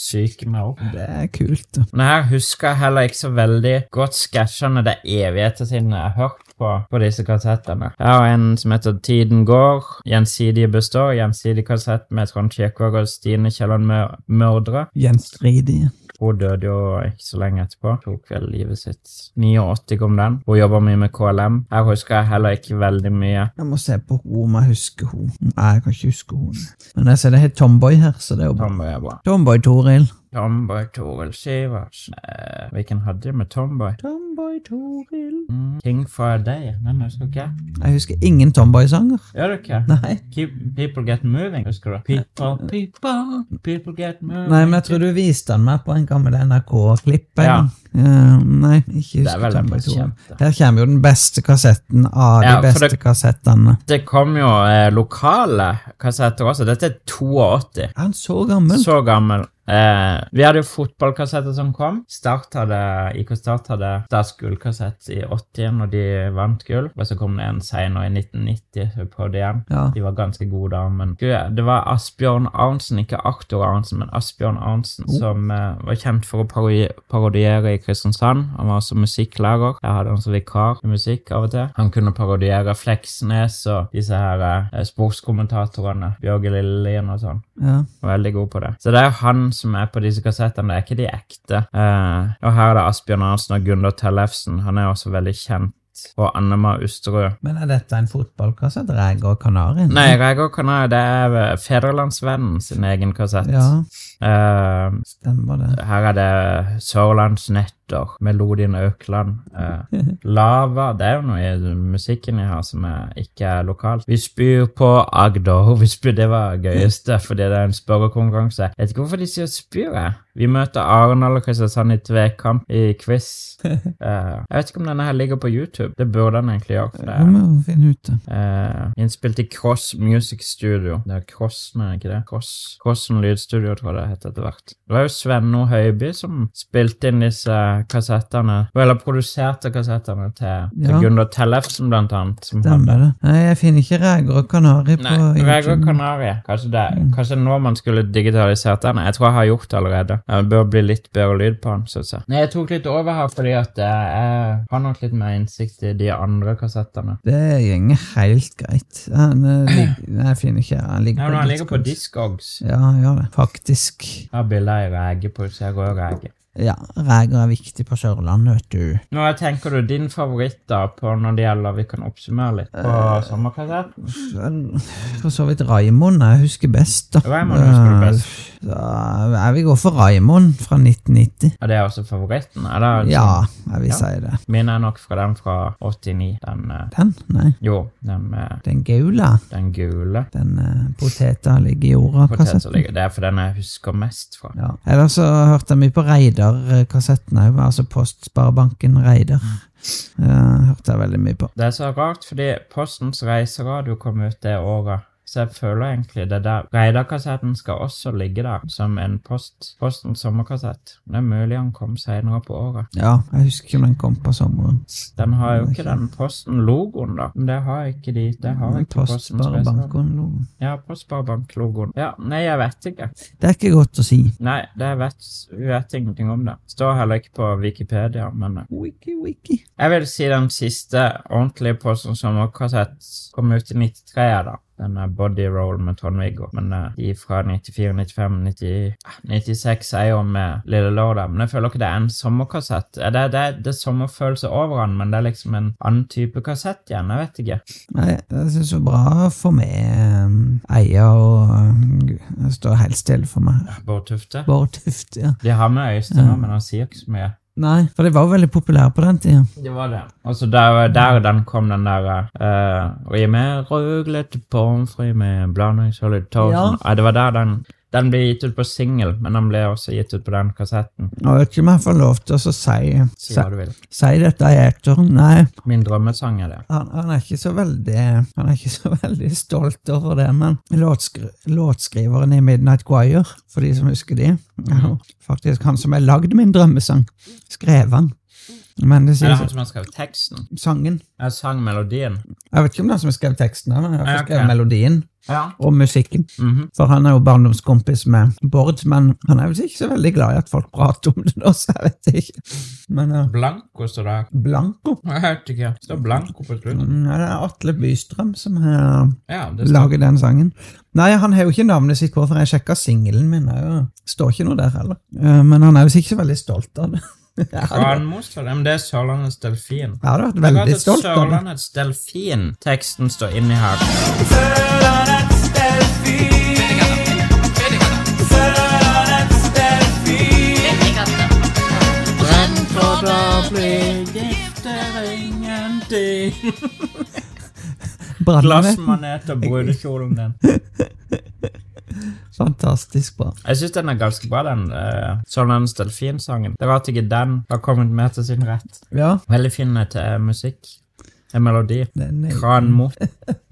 Syk meg opp. Det er kult. Men her husker jeg heller ikke så veldig godt sketsjene det er evigheter siden jeg har hørt på, på disse kassettene. Jeg har en som heter Tiden går, Gjensidige består, gjensidig kassett med Trond Kirkvaag og Stine Kielland Mør- Mørdre. Gjenstridige. Hun døde jo ikke så lenge etterpå. Tok vel livet sitt. 89 kom den. Hun jobba mye med KLM. Her husker jeg heller ikke veldig mye. Jeg må se på henne om jeg husker henne. Nei, jeg kan ikke huske henne. Men jeg ser det het Tomboy her, så det er jo bra. Tomboy er bra. Tomboy Toril. Tomboy Toril Sivertsen. Eh, hvilken hadde jeg med Tomboy? Tomboy Toril. Mm. King for a Day. Den husker ikke jeg. Jeg husker ingen Tomboy-sanger. Gjør du ikke? Nei. Keep, people get moving, husker du? People, people, people get moving. Nei, men jeg tror du viste den meg på en gammel NRK-klipp. en Ja. gang. Eh, nei, ikke Det er vel den husker Tomboy mest Toril. kjente. Der kommer jo den beste kassetten av Ja, de for beste det- kassettene. Det kom jo eh, lokale kassetter også. Dette er 82. Er han så gammel? Så gammel. Eh, vi hadde jo fotballkassetter som kom. Start hadde, IK Start hadde Stas gullkassett i 80 når de vant gull. Og så kom det en senere i 1990, så vi prøvde igjen. Ja. De var ganske gode da, men Gud, det var Asbjørn Arntzen, ikke Arthur Arntzen, men Asbjørn Arntzen, Oh. som eh, var kjent for å parodi parodiere i Kristiansand. Han var også musikklærer. Jeg hadde han som vikar i musikk av og til. Han kunne parodiere Fleksnes og disse her eh, sportskommentatorene, Bjørge Lillelien og sånn. Ja. Veldig god på det. Så det er han som er på disse kassettene, det er ikke de ekte. Eh, og her er det Asbjørn Arntzen og Gunder Tellefsen. Han er også veldig kjent. Og Annema Usterud. Men er dette en fotballkassett? Reg og Kanarien? Nei, Reger Kanal, det er eh, Fedrelandsvennen sin egen kassett. Ja. Eh, Stemmer det. her er det Sørlandsnetter, Melodien Økland. eh, lava Det er jo noe i musikken jeg har som er, ikke er lokalt. Vi spyr på Agder. Vi spyr, det var gøyeste, fordi det er en spørrekonkurranse. Jeg vet ikke hvorfor de sier spyr. jeg. Vi møter Arendal og Kristiansand i tvekamp i quiz. Eh, jeg vet ikke om denne her ligger på YouTube. Det burde den egentlig gjøre. for det Vi er- må finne ut det. Eh, innspilt i Cross Music Studio. Det er Cross, men ikke det? Cross, Crossen Lydstudio, tror jeg det het etter hvert. Det var jo Svenno Høiby som spilte inn disse kassettene, eller produserte kassettene til, til Ja. Gunnar Tellefsen, blant annet. Som hadde. Stemmer det. Nei, jeg finner ikke Reger og Kanari på Nei, YouTube. Reger Kanarie. Kanskje det Mm. Kanskje nå man skulle digitalisert den. Jeg tror jeg har gjort det allerede. Det bør bli litt bedre lyd på den, synes jeg. Nei, jeg tok litt over her fordi at eh, jeg har nok litt mer innsikt i de andre kassettene. Det gjenger helt greit. Han, eh, lig- Nei, jeg finner ikke Han ligger Nei, men på han ligger på Discogs. Discogs. Ja, han gjør det. Faktisk. Her er bilder i rege på utsida rød rege. Ja, Reger er viktig på Sørlandet, vet du. Nå tenker du din favoritt da på når det gjelder Vi kan oppsummere litt på Eh, sommerkassett. For så vidt Raimond jeg husker best, da. Raimond husker du best. Eh, Så jeg vil gå for Raimond fra 1990. Er det også favoritten? Er det altså- Ja, jeg vil Ja. si det. Min er nok fra den fra 89. Den eh, Den? Nei. Jo, den med Den gaula. den gule Den eh, poteta ligger i jorda-kassetten. poteten. Det er for den jeg husker mest fra. Ja. Ellers så hørte jeg mye på eh, Reidar-kassetten òg, altså Postsparebanken Reidar. Eh, hørte jeg veldig mye på. Det er så rart, fordi Postens reiseradio kom ut det året. Så jeg føler egentlig det der Reidar-kassetten skal også ligge der, som en post, Postens sommerkassett. Det er mulig han kom seinere på året. Ja, jeg husker ikke om den kom på sommeren. Den har jo ikke den Posten-logoen, da. Men det har ikke de. Det har ikke Postens reiseradio. Postsparebanken Ja, Postsparebank-logoen. Ja, nei, jeg vet ikke. Det er ikke godt å si. Nei, det vet, vi vet ingenting om det. Står heller ikke på Wikipedia, men eh. Wiki, wiki. Jeg vil si den siste ordentlige Posten sommerkassett kom ut i 93, da. Den er Body Roll med Trond-Viggo. Men eh, de fra 94, 95, 90, ah, 96 er jo med Lille Lørdag. Men jeg føler ikke det er en sommerkassett. Eh, Det, det, det er sommerfølelse over den, men det er liksom en annen type kassett igjen. Jeg vet ikke. Nei, jeg synes det er bra å få med eh, Eia og eh, Det står helt stille for meg. Bård Tufte. Bård Tufte, ja. De har med Øystein nå, men han sier ikke så mye. Nei, for de var jo veldig populære på den tida. Det var det. Altså, der, der den kom den der uh, Ri med ruglete pommes frites med blandingsholdig toast Ja. Nei, Det var der den Den ble gitt ut på singel, men den ble også gitt ut på den kassetten. Jeg vet ikke om jeg får lov til å si, Si hva du vil. si dette i eteren. Nei. Min drømmesang er det. han, han er ikke så veldig Han er ikke så veldig stolt over det, men låtskri låtskriveren i Midnight Choir, for de som husker de, er jo faktisk han som har lagd min drømmesang. Skrev han. Men det Er det sier han som har skrevet teksten? sangen. Jeg sang melodien. Jeg vet ikke om det er han som har skrevet teksten, men han Ja, har ok. skrevet melodien Ja. og musikken. Mhm. For han er jo barndomskompis med Bård, men han er vel ikke så veldig glad i at folk prater om det nå, så jeg vet ikke. Men ja. Blanco står det. Blanco? Jeg vet ikke. Det står Blanco på slutten. Mm, ja, det er Atle Bystrøm som har Ja, det står- laget den sangen. Nei, han har jo ikke navnet sitt på, for jeg sjekka singelen min. Det er jo- står ikke noe der heller. Eh, Men han er visst ikke så veldig stolt av det. Ja, det var- Kranmostad, men det er Sørlandets delfin. Ja, du har vært veldig stolt av det. Sørlandets delfin. Teksten står inni her. Glassmanet og brudekjole om den. Fantastisk bra. Jeg syns den er ganske bra, den uh, Sørlandets delfinsangen. Det er rart ikke den har kommet mer til sin rett. Ja. Veldig fin eh, til, eh, musikk. En melodi. Kranmo.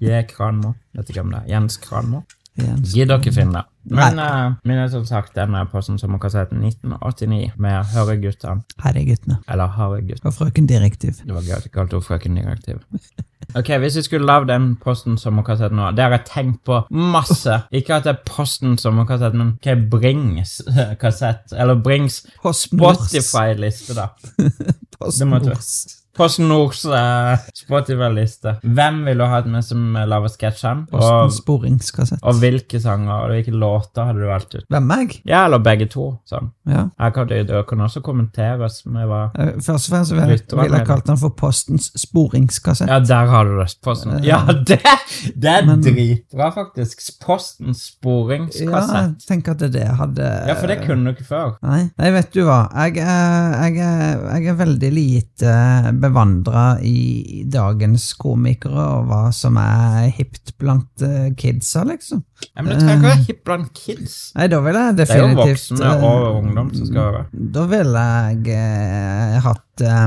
J. Kranmo. Vet ikke hvem det er. Jens Kranmo. Jens Gi dere finne. Men eh, min er som sagt den er på som sommerkassett 1989 med Høreguttene. Herreguttene. Eller Haregutt. Og Frøken Direktiv. Det var gøy at jeg kalte henne Frøken Direktiv. Ok, Hvis jeg skulle lagd den Posten sommerkassett nå Det har jeg tenkt på masse. Ikke at det er Posten sommerkassett, men hva er Brings eh, kassett? Eller Brings PostNords. Spotify-liste, da. Post Det måtte- Nords. Post Nords eh, Spotify-liste. Hvem ville du hatt med som eh, lager sketsjen? Og, Posten sporingskassett. og hvilke sanger og hvilke låter hadde du valgt ut? Hvem, meg? Ja, eller begge to. sånn. Ja. Jeg kan, det, det kan også kommenteres med hva Eh, Først og fremst vil jeg, Lytter, hva vil jeg mener du? kalt den for Postens sporingskassett. Ja, der har du det. Posten. Ja, det, det er Men- dritbra, faktisk. Postens Ja, sporingskassett. jeg tenker at det er det jeg hadde Ja, for det kunne du ikke før. Nei, nei vet du hva. Jeg er, jeg er, jeg er veldig lite bevandra i dagens komikere og hva som er hipt blant eh, kidsa, liksom. Ja, men det trenger ikke være hipp blant kids. Nei, da ville jeg Det er jo definitivt voksne eh, og ungdom som skal høre. Da ville jeg eh, hatt eh,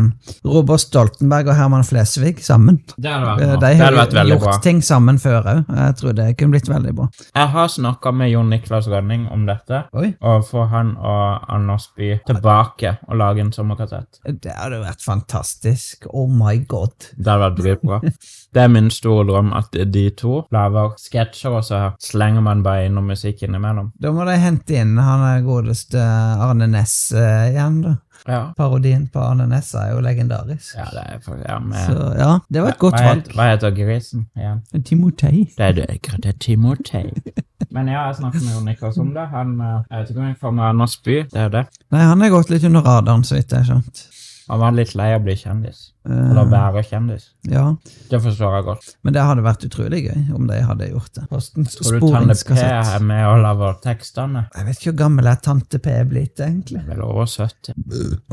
Robert Stoltenberg og Herman Flesvig sammen. Det hadde vært Eh, bra. De Det har hadde vært veldig gjort bra. ting sammen før òg. Jeg tror det kunne blitt veldig bra. Jeg har snakka med Jon Niklas Rønning om dette, Oi. og få han og Anders Bye tilbake og lage en sommerkassett. Det hadde vært fantastisk. Oh my god. Det hadde vært dritbra. Det er min store drøm at de to lager sketsjer, og så slenger man bare inn noe musikk innimellom. Da må de hente inn han er godeste Arne Næss eh, igjen, da. Ja. Parodien på Arne Næss er jo legendarisk. Ja, det er for, ja, med, Så ja, det var et godt hva, valg. het- hva heter grisen igjen? Timotei. Det er, det, det er Timotei. Men ja, jeg snakket med Jon Niklas om det. Han, eh, jeg vet ikke om jeg får med Anders Bye, det er det. Nei, han er gått litt under radaren, så vidt jeg har skjønt. Han var litt lei av å bli kjendis. Eh. Eller være kjendis. Ja, Det forstår jeg godt. men det hadde vært utrolig gøy om de hadde gjort det. Posten Tror du Tanne P sporingskassett. er med og lager tekstene? Jeg vet ikke hvor gammel er tante P blitt, egentlig. Vel over 70.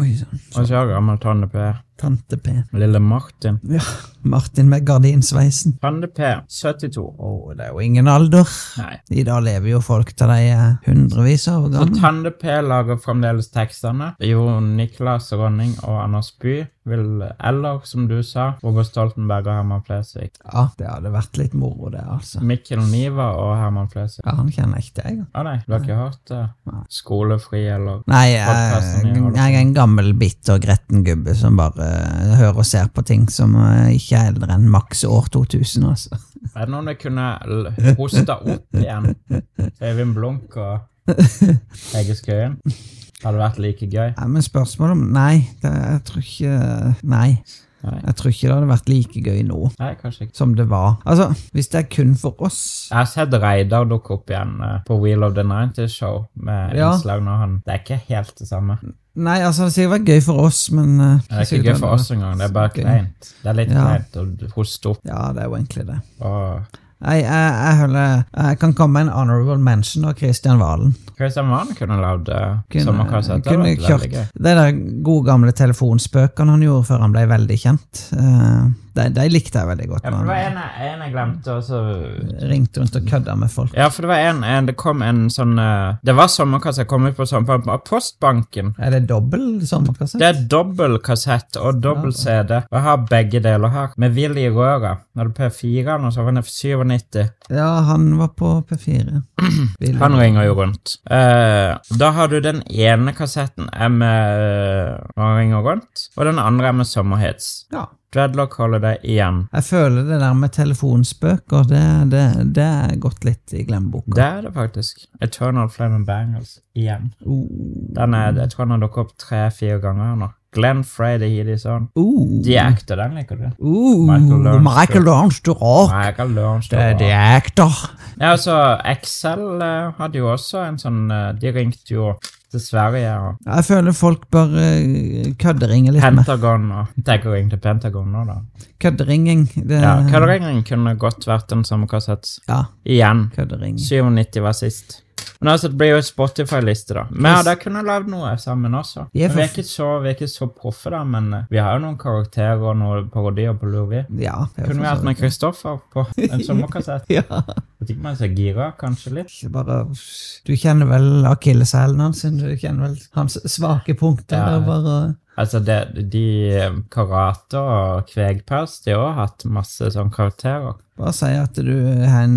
Oi sann. Og så er gammel Tanne P. Tante P. Lille Martin. Ja, Martin med gardinsveisen. Tanne P, 72. Å, det er jo ingen alder. Nei. I dag lever jo folk til de er hundrevis av år Så gamle. Tande P lager fremdeles tekstene. Jo Niklas Rønning og Anders Bye vil, eller som du sa, Robert Stoltenberg og Herman Flesvig. Ja, det hadde vært litt moro, det, altså. Mikkel Niva og Herman Flesvig. Ja, han kjenner ikke jeg. Å nei, du har ikke hørt det? Skolefri eller Nei, jeg, podcasten jeg holder på jeg er en gammel, bitter og gretten gubbe som bare eh, hører og ser på ting som eh, ikke er eldre enn maks år 2000, altså. med? Er det noen jeg kunne l- hoste opp igjen? Øyvind Blunk og Hege Skøyen? Hadde vært like gøy. Nei, men spørsmålet om Nei, det, jeg tror ikke Nei. Nei. Jeg tror ikke det hadde vært like gøy nå Nei, kanskje ikke. som det var. Altså, hvis det er kun for oss Jeg har sett Reidar dukke opp igjen eh, på Wheel of the Nineties show med Ja. innslag når han Det er ikke helt det samme. Nei, altså, det hadde sikkert vært gøy for oss, men eh, Det er ikke sikkert gøy hadde for oss vært engang. Det er bare gøy. kleint. Det er litt Ja. kleint å hoste opp Ja, det er jo egentlig det. og Nei, jeg, jeg, holder, jeg kan komme med en honorable mention av Kristian Valen. Christian Vahn kunne lagd eh, sommerkassett. Det kunne hadde vært kjørt veldig gøy. de der gode gamle telefonspøkene han gjorde før han ble veldig kjent. Eh, De, de likte jeg veldig godt. Ja, for det var når en, jeg- en jeg glemte, og så han Ringte rundt og kødda med folk. Ja, for det var en, en Det kom en sånn eh, Det var sommerkassett kommet på sånn, på Postbanken. Er det dobbel sånn, sommerkassett? Det er dobbel kassett og dobbel CD. Og jeg har begge deler her. Med Willy i røra. Når du P4-en, og så var den F97. Ja, han var på P4. Willy. Han ringer jo rundt. Eh, da har du den ene kassetten er med Han ringer rundt, og den andre er med Sommerhits. Ja. Dreadlock Holiday igjen. Jeg føler det der med telefonspøker, det, det, det er gått litt i glemmeboka. Det er det faktisk. Eternal Flame and Bangles igjen. Uh, Den er, jeg tror den har dukket opp tre-fire ganger nå. Glenn Frey, The Healy Son. Uh. The Actor, den liker du. Uh, Michael Learns to- Michael Learns to Rock. Michael Learns to Det er Rock. The Actor. Ja, altså, Excel eh, hadde jo også en sånn eh, De ringte jo til Sverige og Jeg føler folk bør eh, kødderinge litt mer. Pentagon og Tenker å ringe til Pentagon nå, da. Kødderinging. Det, Ja, Kødderingen kunne godt vært den samme kassett. Ja. Igjen. Køddering. 97 var sist. Men altså, det blir jo en Spotify-liste, da. Vi hadde kunnet lagd noe sammen også. Vi er Men Vi er for- ikke så, vi er ikke så proffe, da, men eh, vi har jo noen karakterer og noen parodier på lur, vi. Ja, det er for kunne vi så hatt med vidt. Kristoffer på en sommerkassett? Ja. Jeg tenker man er så gira, kanskje litt. Bare, du kjenner vel akilleshælen hans? Du kjenner vel hans svake punkter? Ja. Ja. Bare, Altså, det, de karate og kvegpels, de har også hatt masse sånn karakterer. bare si at du er en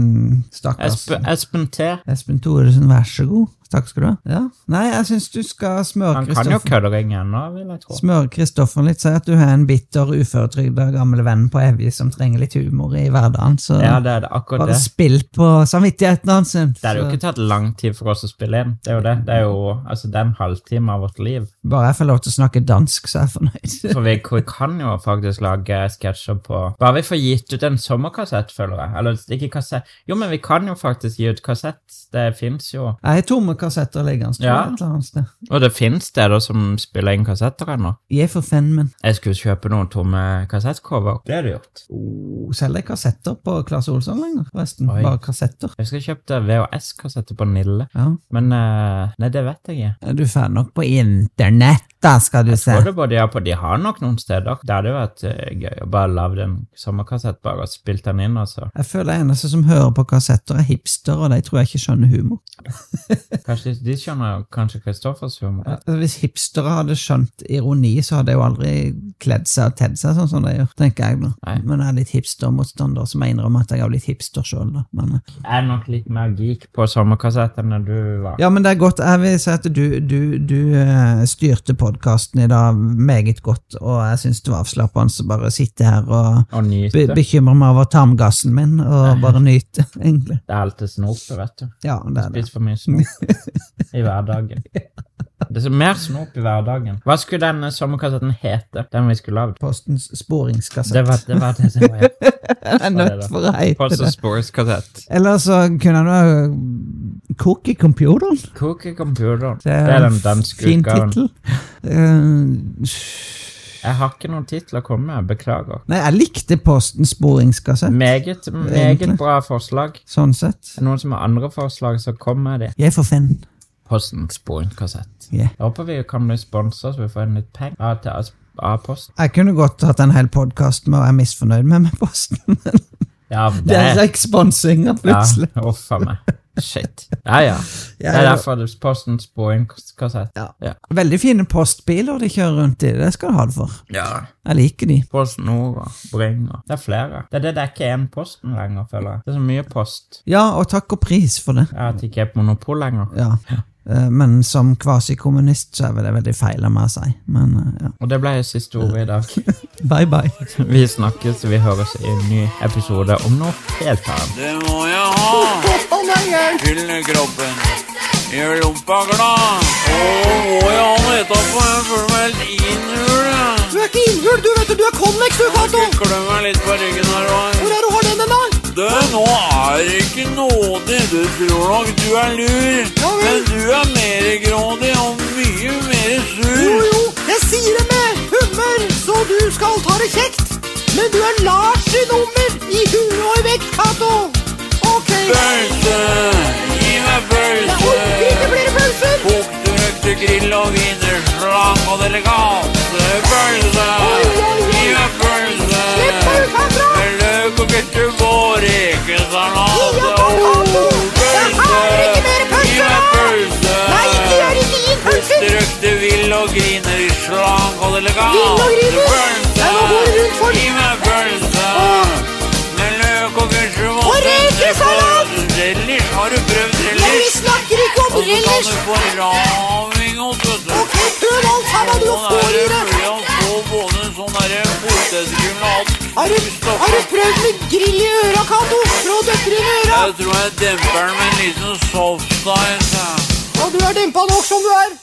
stakkars Espen, altså, Espen T. Espen Thoresen, vær så god. Takk skal du ha. Ja. Nei, jeg syns du skal smøre Han kan jo Kristoffer. kødderinge ennå, vil jeg tro. Smøre Kristoffer litt. Si at du har en bitter, uføretrygda gammel venn på Evje som trenger litt humor i hverdagen. Så Ja, det er det, akkurat bare det. spill på samvittigheten hans. Det hadde jo ikke tatt lang tid for oss å spille inn. Det er jo det. Det er jo altså, det er en halvtime av vårt liv. Bare jeg får lov til å snakke dansk, så er jeg fornøyd. For vi vi kan jo faktisk lage sketsjer på Bare vi får gitt ut en sommerkassett, føler jeg. Eller ikke kassett Jo, men vi kan jo faktisk gi ut kassett. Det fins jo. Jeg har tomme kassetter liggende tror jeg, Ja. et eller annet sted. Og det fins steder som spiller inn kassetter ennå. Jeg er for fan, men Jeg skulle kjøpe noen tomme kassettcover. Det har du gjort. oh, selger jeg kassetter på Claes Olsson lenger? Forresten, Oi. bare kassetter. Jeg skulle kjøpt eh, VHS-kassetter på Nille, Ja. men eh, Nei, det vet jeg ikke. Er du fan nok på internett, da, skal du se. Både på de, har på, de har nok noen steder. Det hadde jo vært eh, gøy å bare lage en sommerkassett bare og spilt den inn, altså. Jeg føler eneste som hører på kassetter, er hipster, og de tror jeg ikke skjønner humor. Kanskje de, de skjønner jo kanskje Kristoffers humor. Altså, Hvis hipstere hadde skjønt ironi, så hadde de jo aldri kledd seg og tedd seg sånn som de gjør, tenker jeg. da. Men jeg er litt hipstermotstander, så må jeg innrømme at jeg har blitt hipster sjøl, da. Men, eh, Jeg er nok litt mer geek på sommerkassett enn du var. Ja, men det er godt. Jeg vil si at du, du, du eh, styrte podkasten i dag meget godt, og jeg syns det var avslappende å bare sitte her og Og nyte. be bekymre meg over tarmgassen min, og bare nyte, egentlig. Det er alltid snop, vet du. Ja, det er det. Spist for mye snop i hverdagen. Det er så mer snop i hverdagen. Hva skulle den sommerkassetten hete? Den vi skulle lagd? Postens sporingskassett. Det var det, var det som var het. Jeg er nødt for å hete det. Postens sporskassett. Eller så kunne han jo koke i computeren. Cook i computeren. Det Det er er den en danske fin utgaven. tittel. Eh, Jeg har ikke noen titler å komme med, beklager. nei, jeg likte Postens Mm. sporingskassett, Meget, meget Egentlig. bra forslag. sånn sett. Er det noen som har andre forslag, så kom med det. Jeg får finn. Postens sporkassett. Yeah. Jeg håper vi kan bli sponsa, så vi får inn litt penger av, til- av Posten. Jeg kunne godt hatt en hel podkast med å være misfornøyd med meg posten. Ja, Det er reksponsing, plutselig. Ja, uff a meg. Shit. Ja, ja. Det Ja, er ja. derfor det er Postens boingkassett. Ja. Veldig fine postbiler de kjører rundt i. Det skal du ha det for. ja. Jeg liker de. Post Nord og Bring og Det er flere. Det er det det er ikke er én Posten lenger, føler jeg. Det er så mye post. Ja, og takk og pris for det. Ja, At det ikke er et monopol lenger. Ja. Eh, Men som kvasikommunist så er vel det veldig feil av meg å si. Men eh, ja. Og det ble siste ordet i dag. Bye, bye. Vi snakkes, vi høres i en ny episode om noe helt annet. Det må jeg ha. Fylle kroppen. Gjør rumpa glad. Å, må jeg ha noe etterpå? Jeg føler meg helt innhult. Du er ikke innhult, du vet du. Du er konveks, du, Cato. Klø meg litt på ryggen her. Hvor er det du har den, da? Du, nå er det ikke nådig. Du tror nok du er lur. men du er mer grådig og mye mer sur. Jo, jo. Jeg sier det med humør, så du skal ta det kjekt. Men du er Lars i nummer i huet og i vekt, Cato. Ok. Pølse. Gi meg pølse. Jeg orker ikke flere pølser. Kokte røkte grill og wiener, slang og delikate pølse. Gi meg pølse. Slipp pølsa. slang og det legal. Vind og gripe. Pølse. Jeg må gå rundt folk. Gi meg pølse. Med løk og gulrot. Og rekesalat. Relly. Har du prøvd relly? Men vi snakker ikke om Og relish. så kan du få raving og tøtter. Ok, prøv alt sammen, du Sånn får er det i deg. mulig å få både sånn derre potetgull og alt. Har du, har du prøvd med grill i øra, Cato? Slå døtre i øra? Jeg tror jeg demper den med en liten softice. jeg. Og du er dempa nok som du er.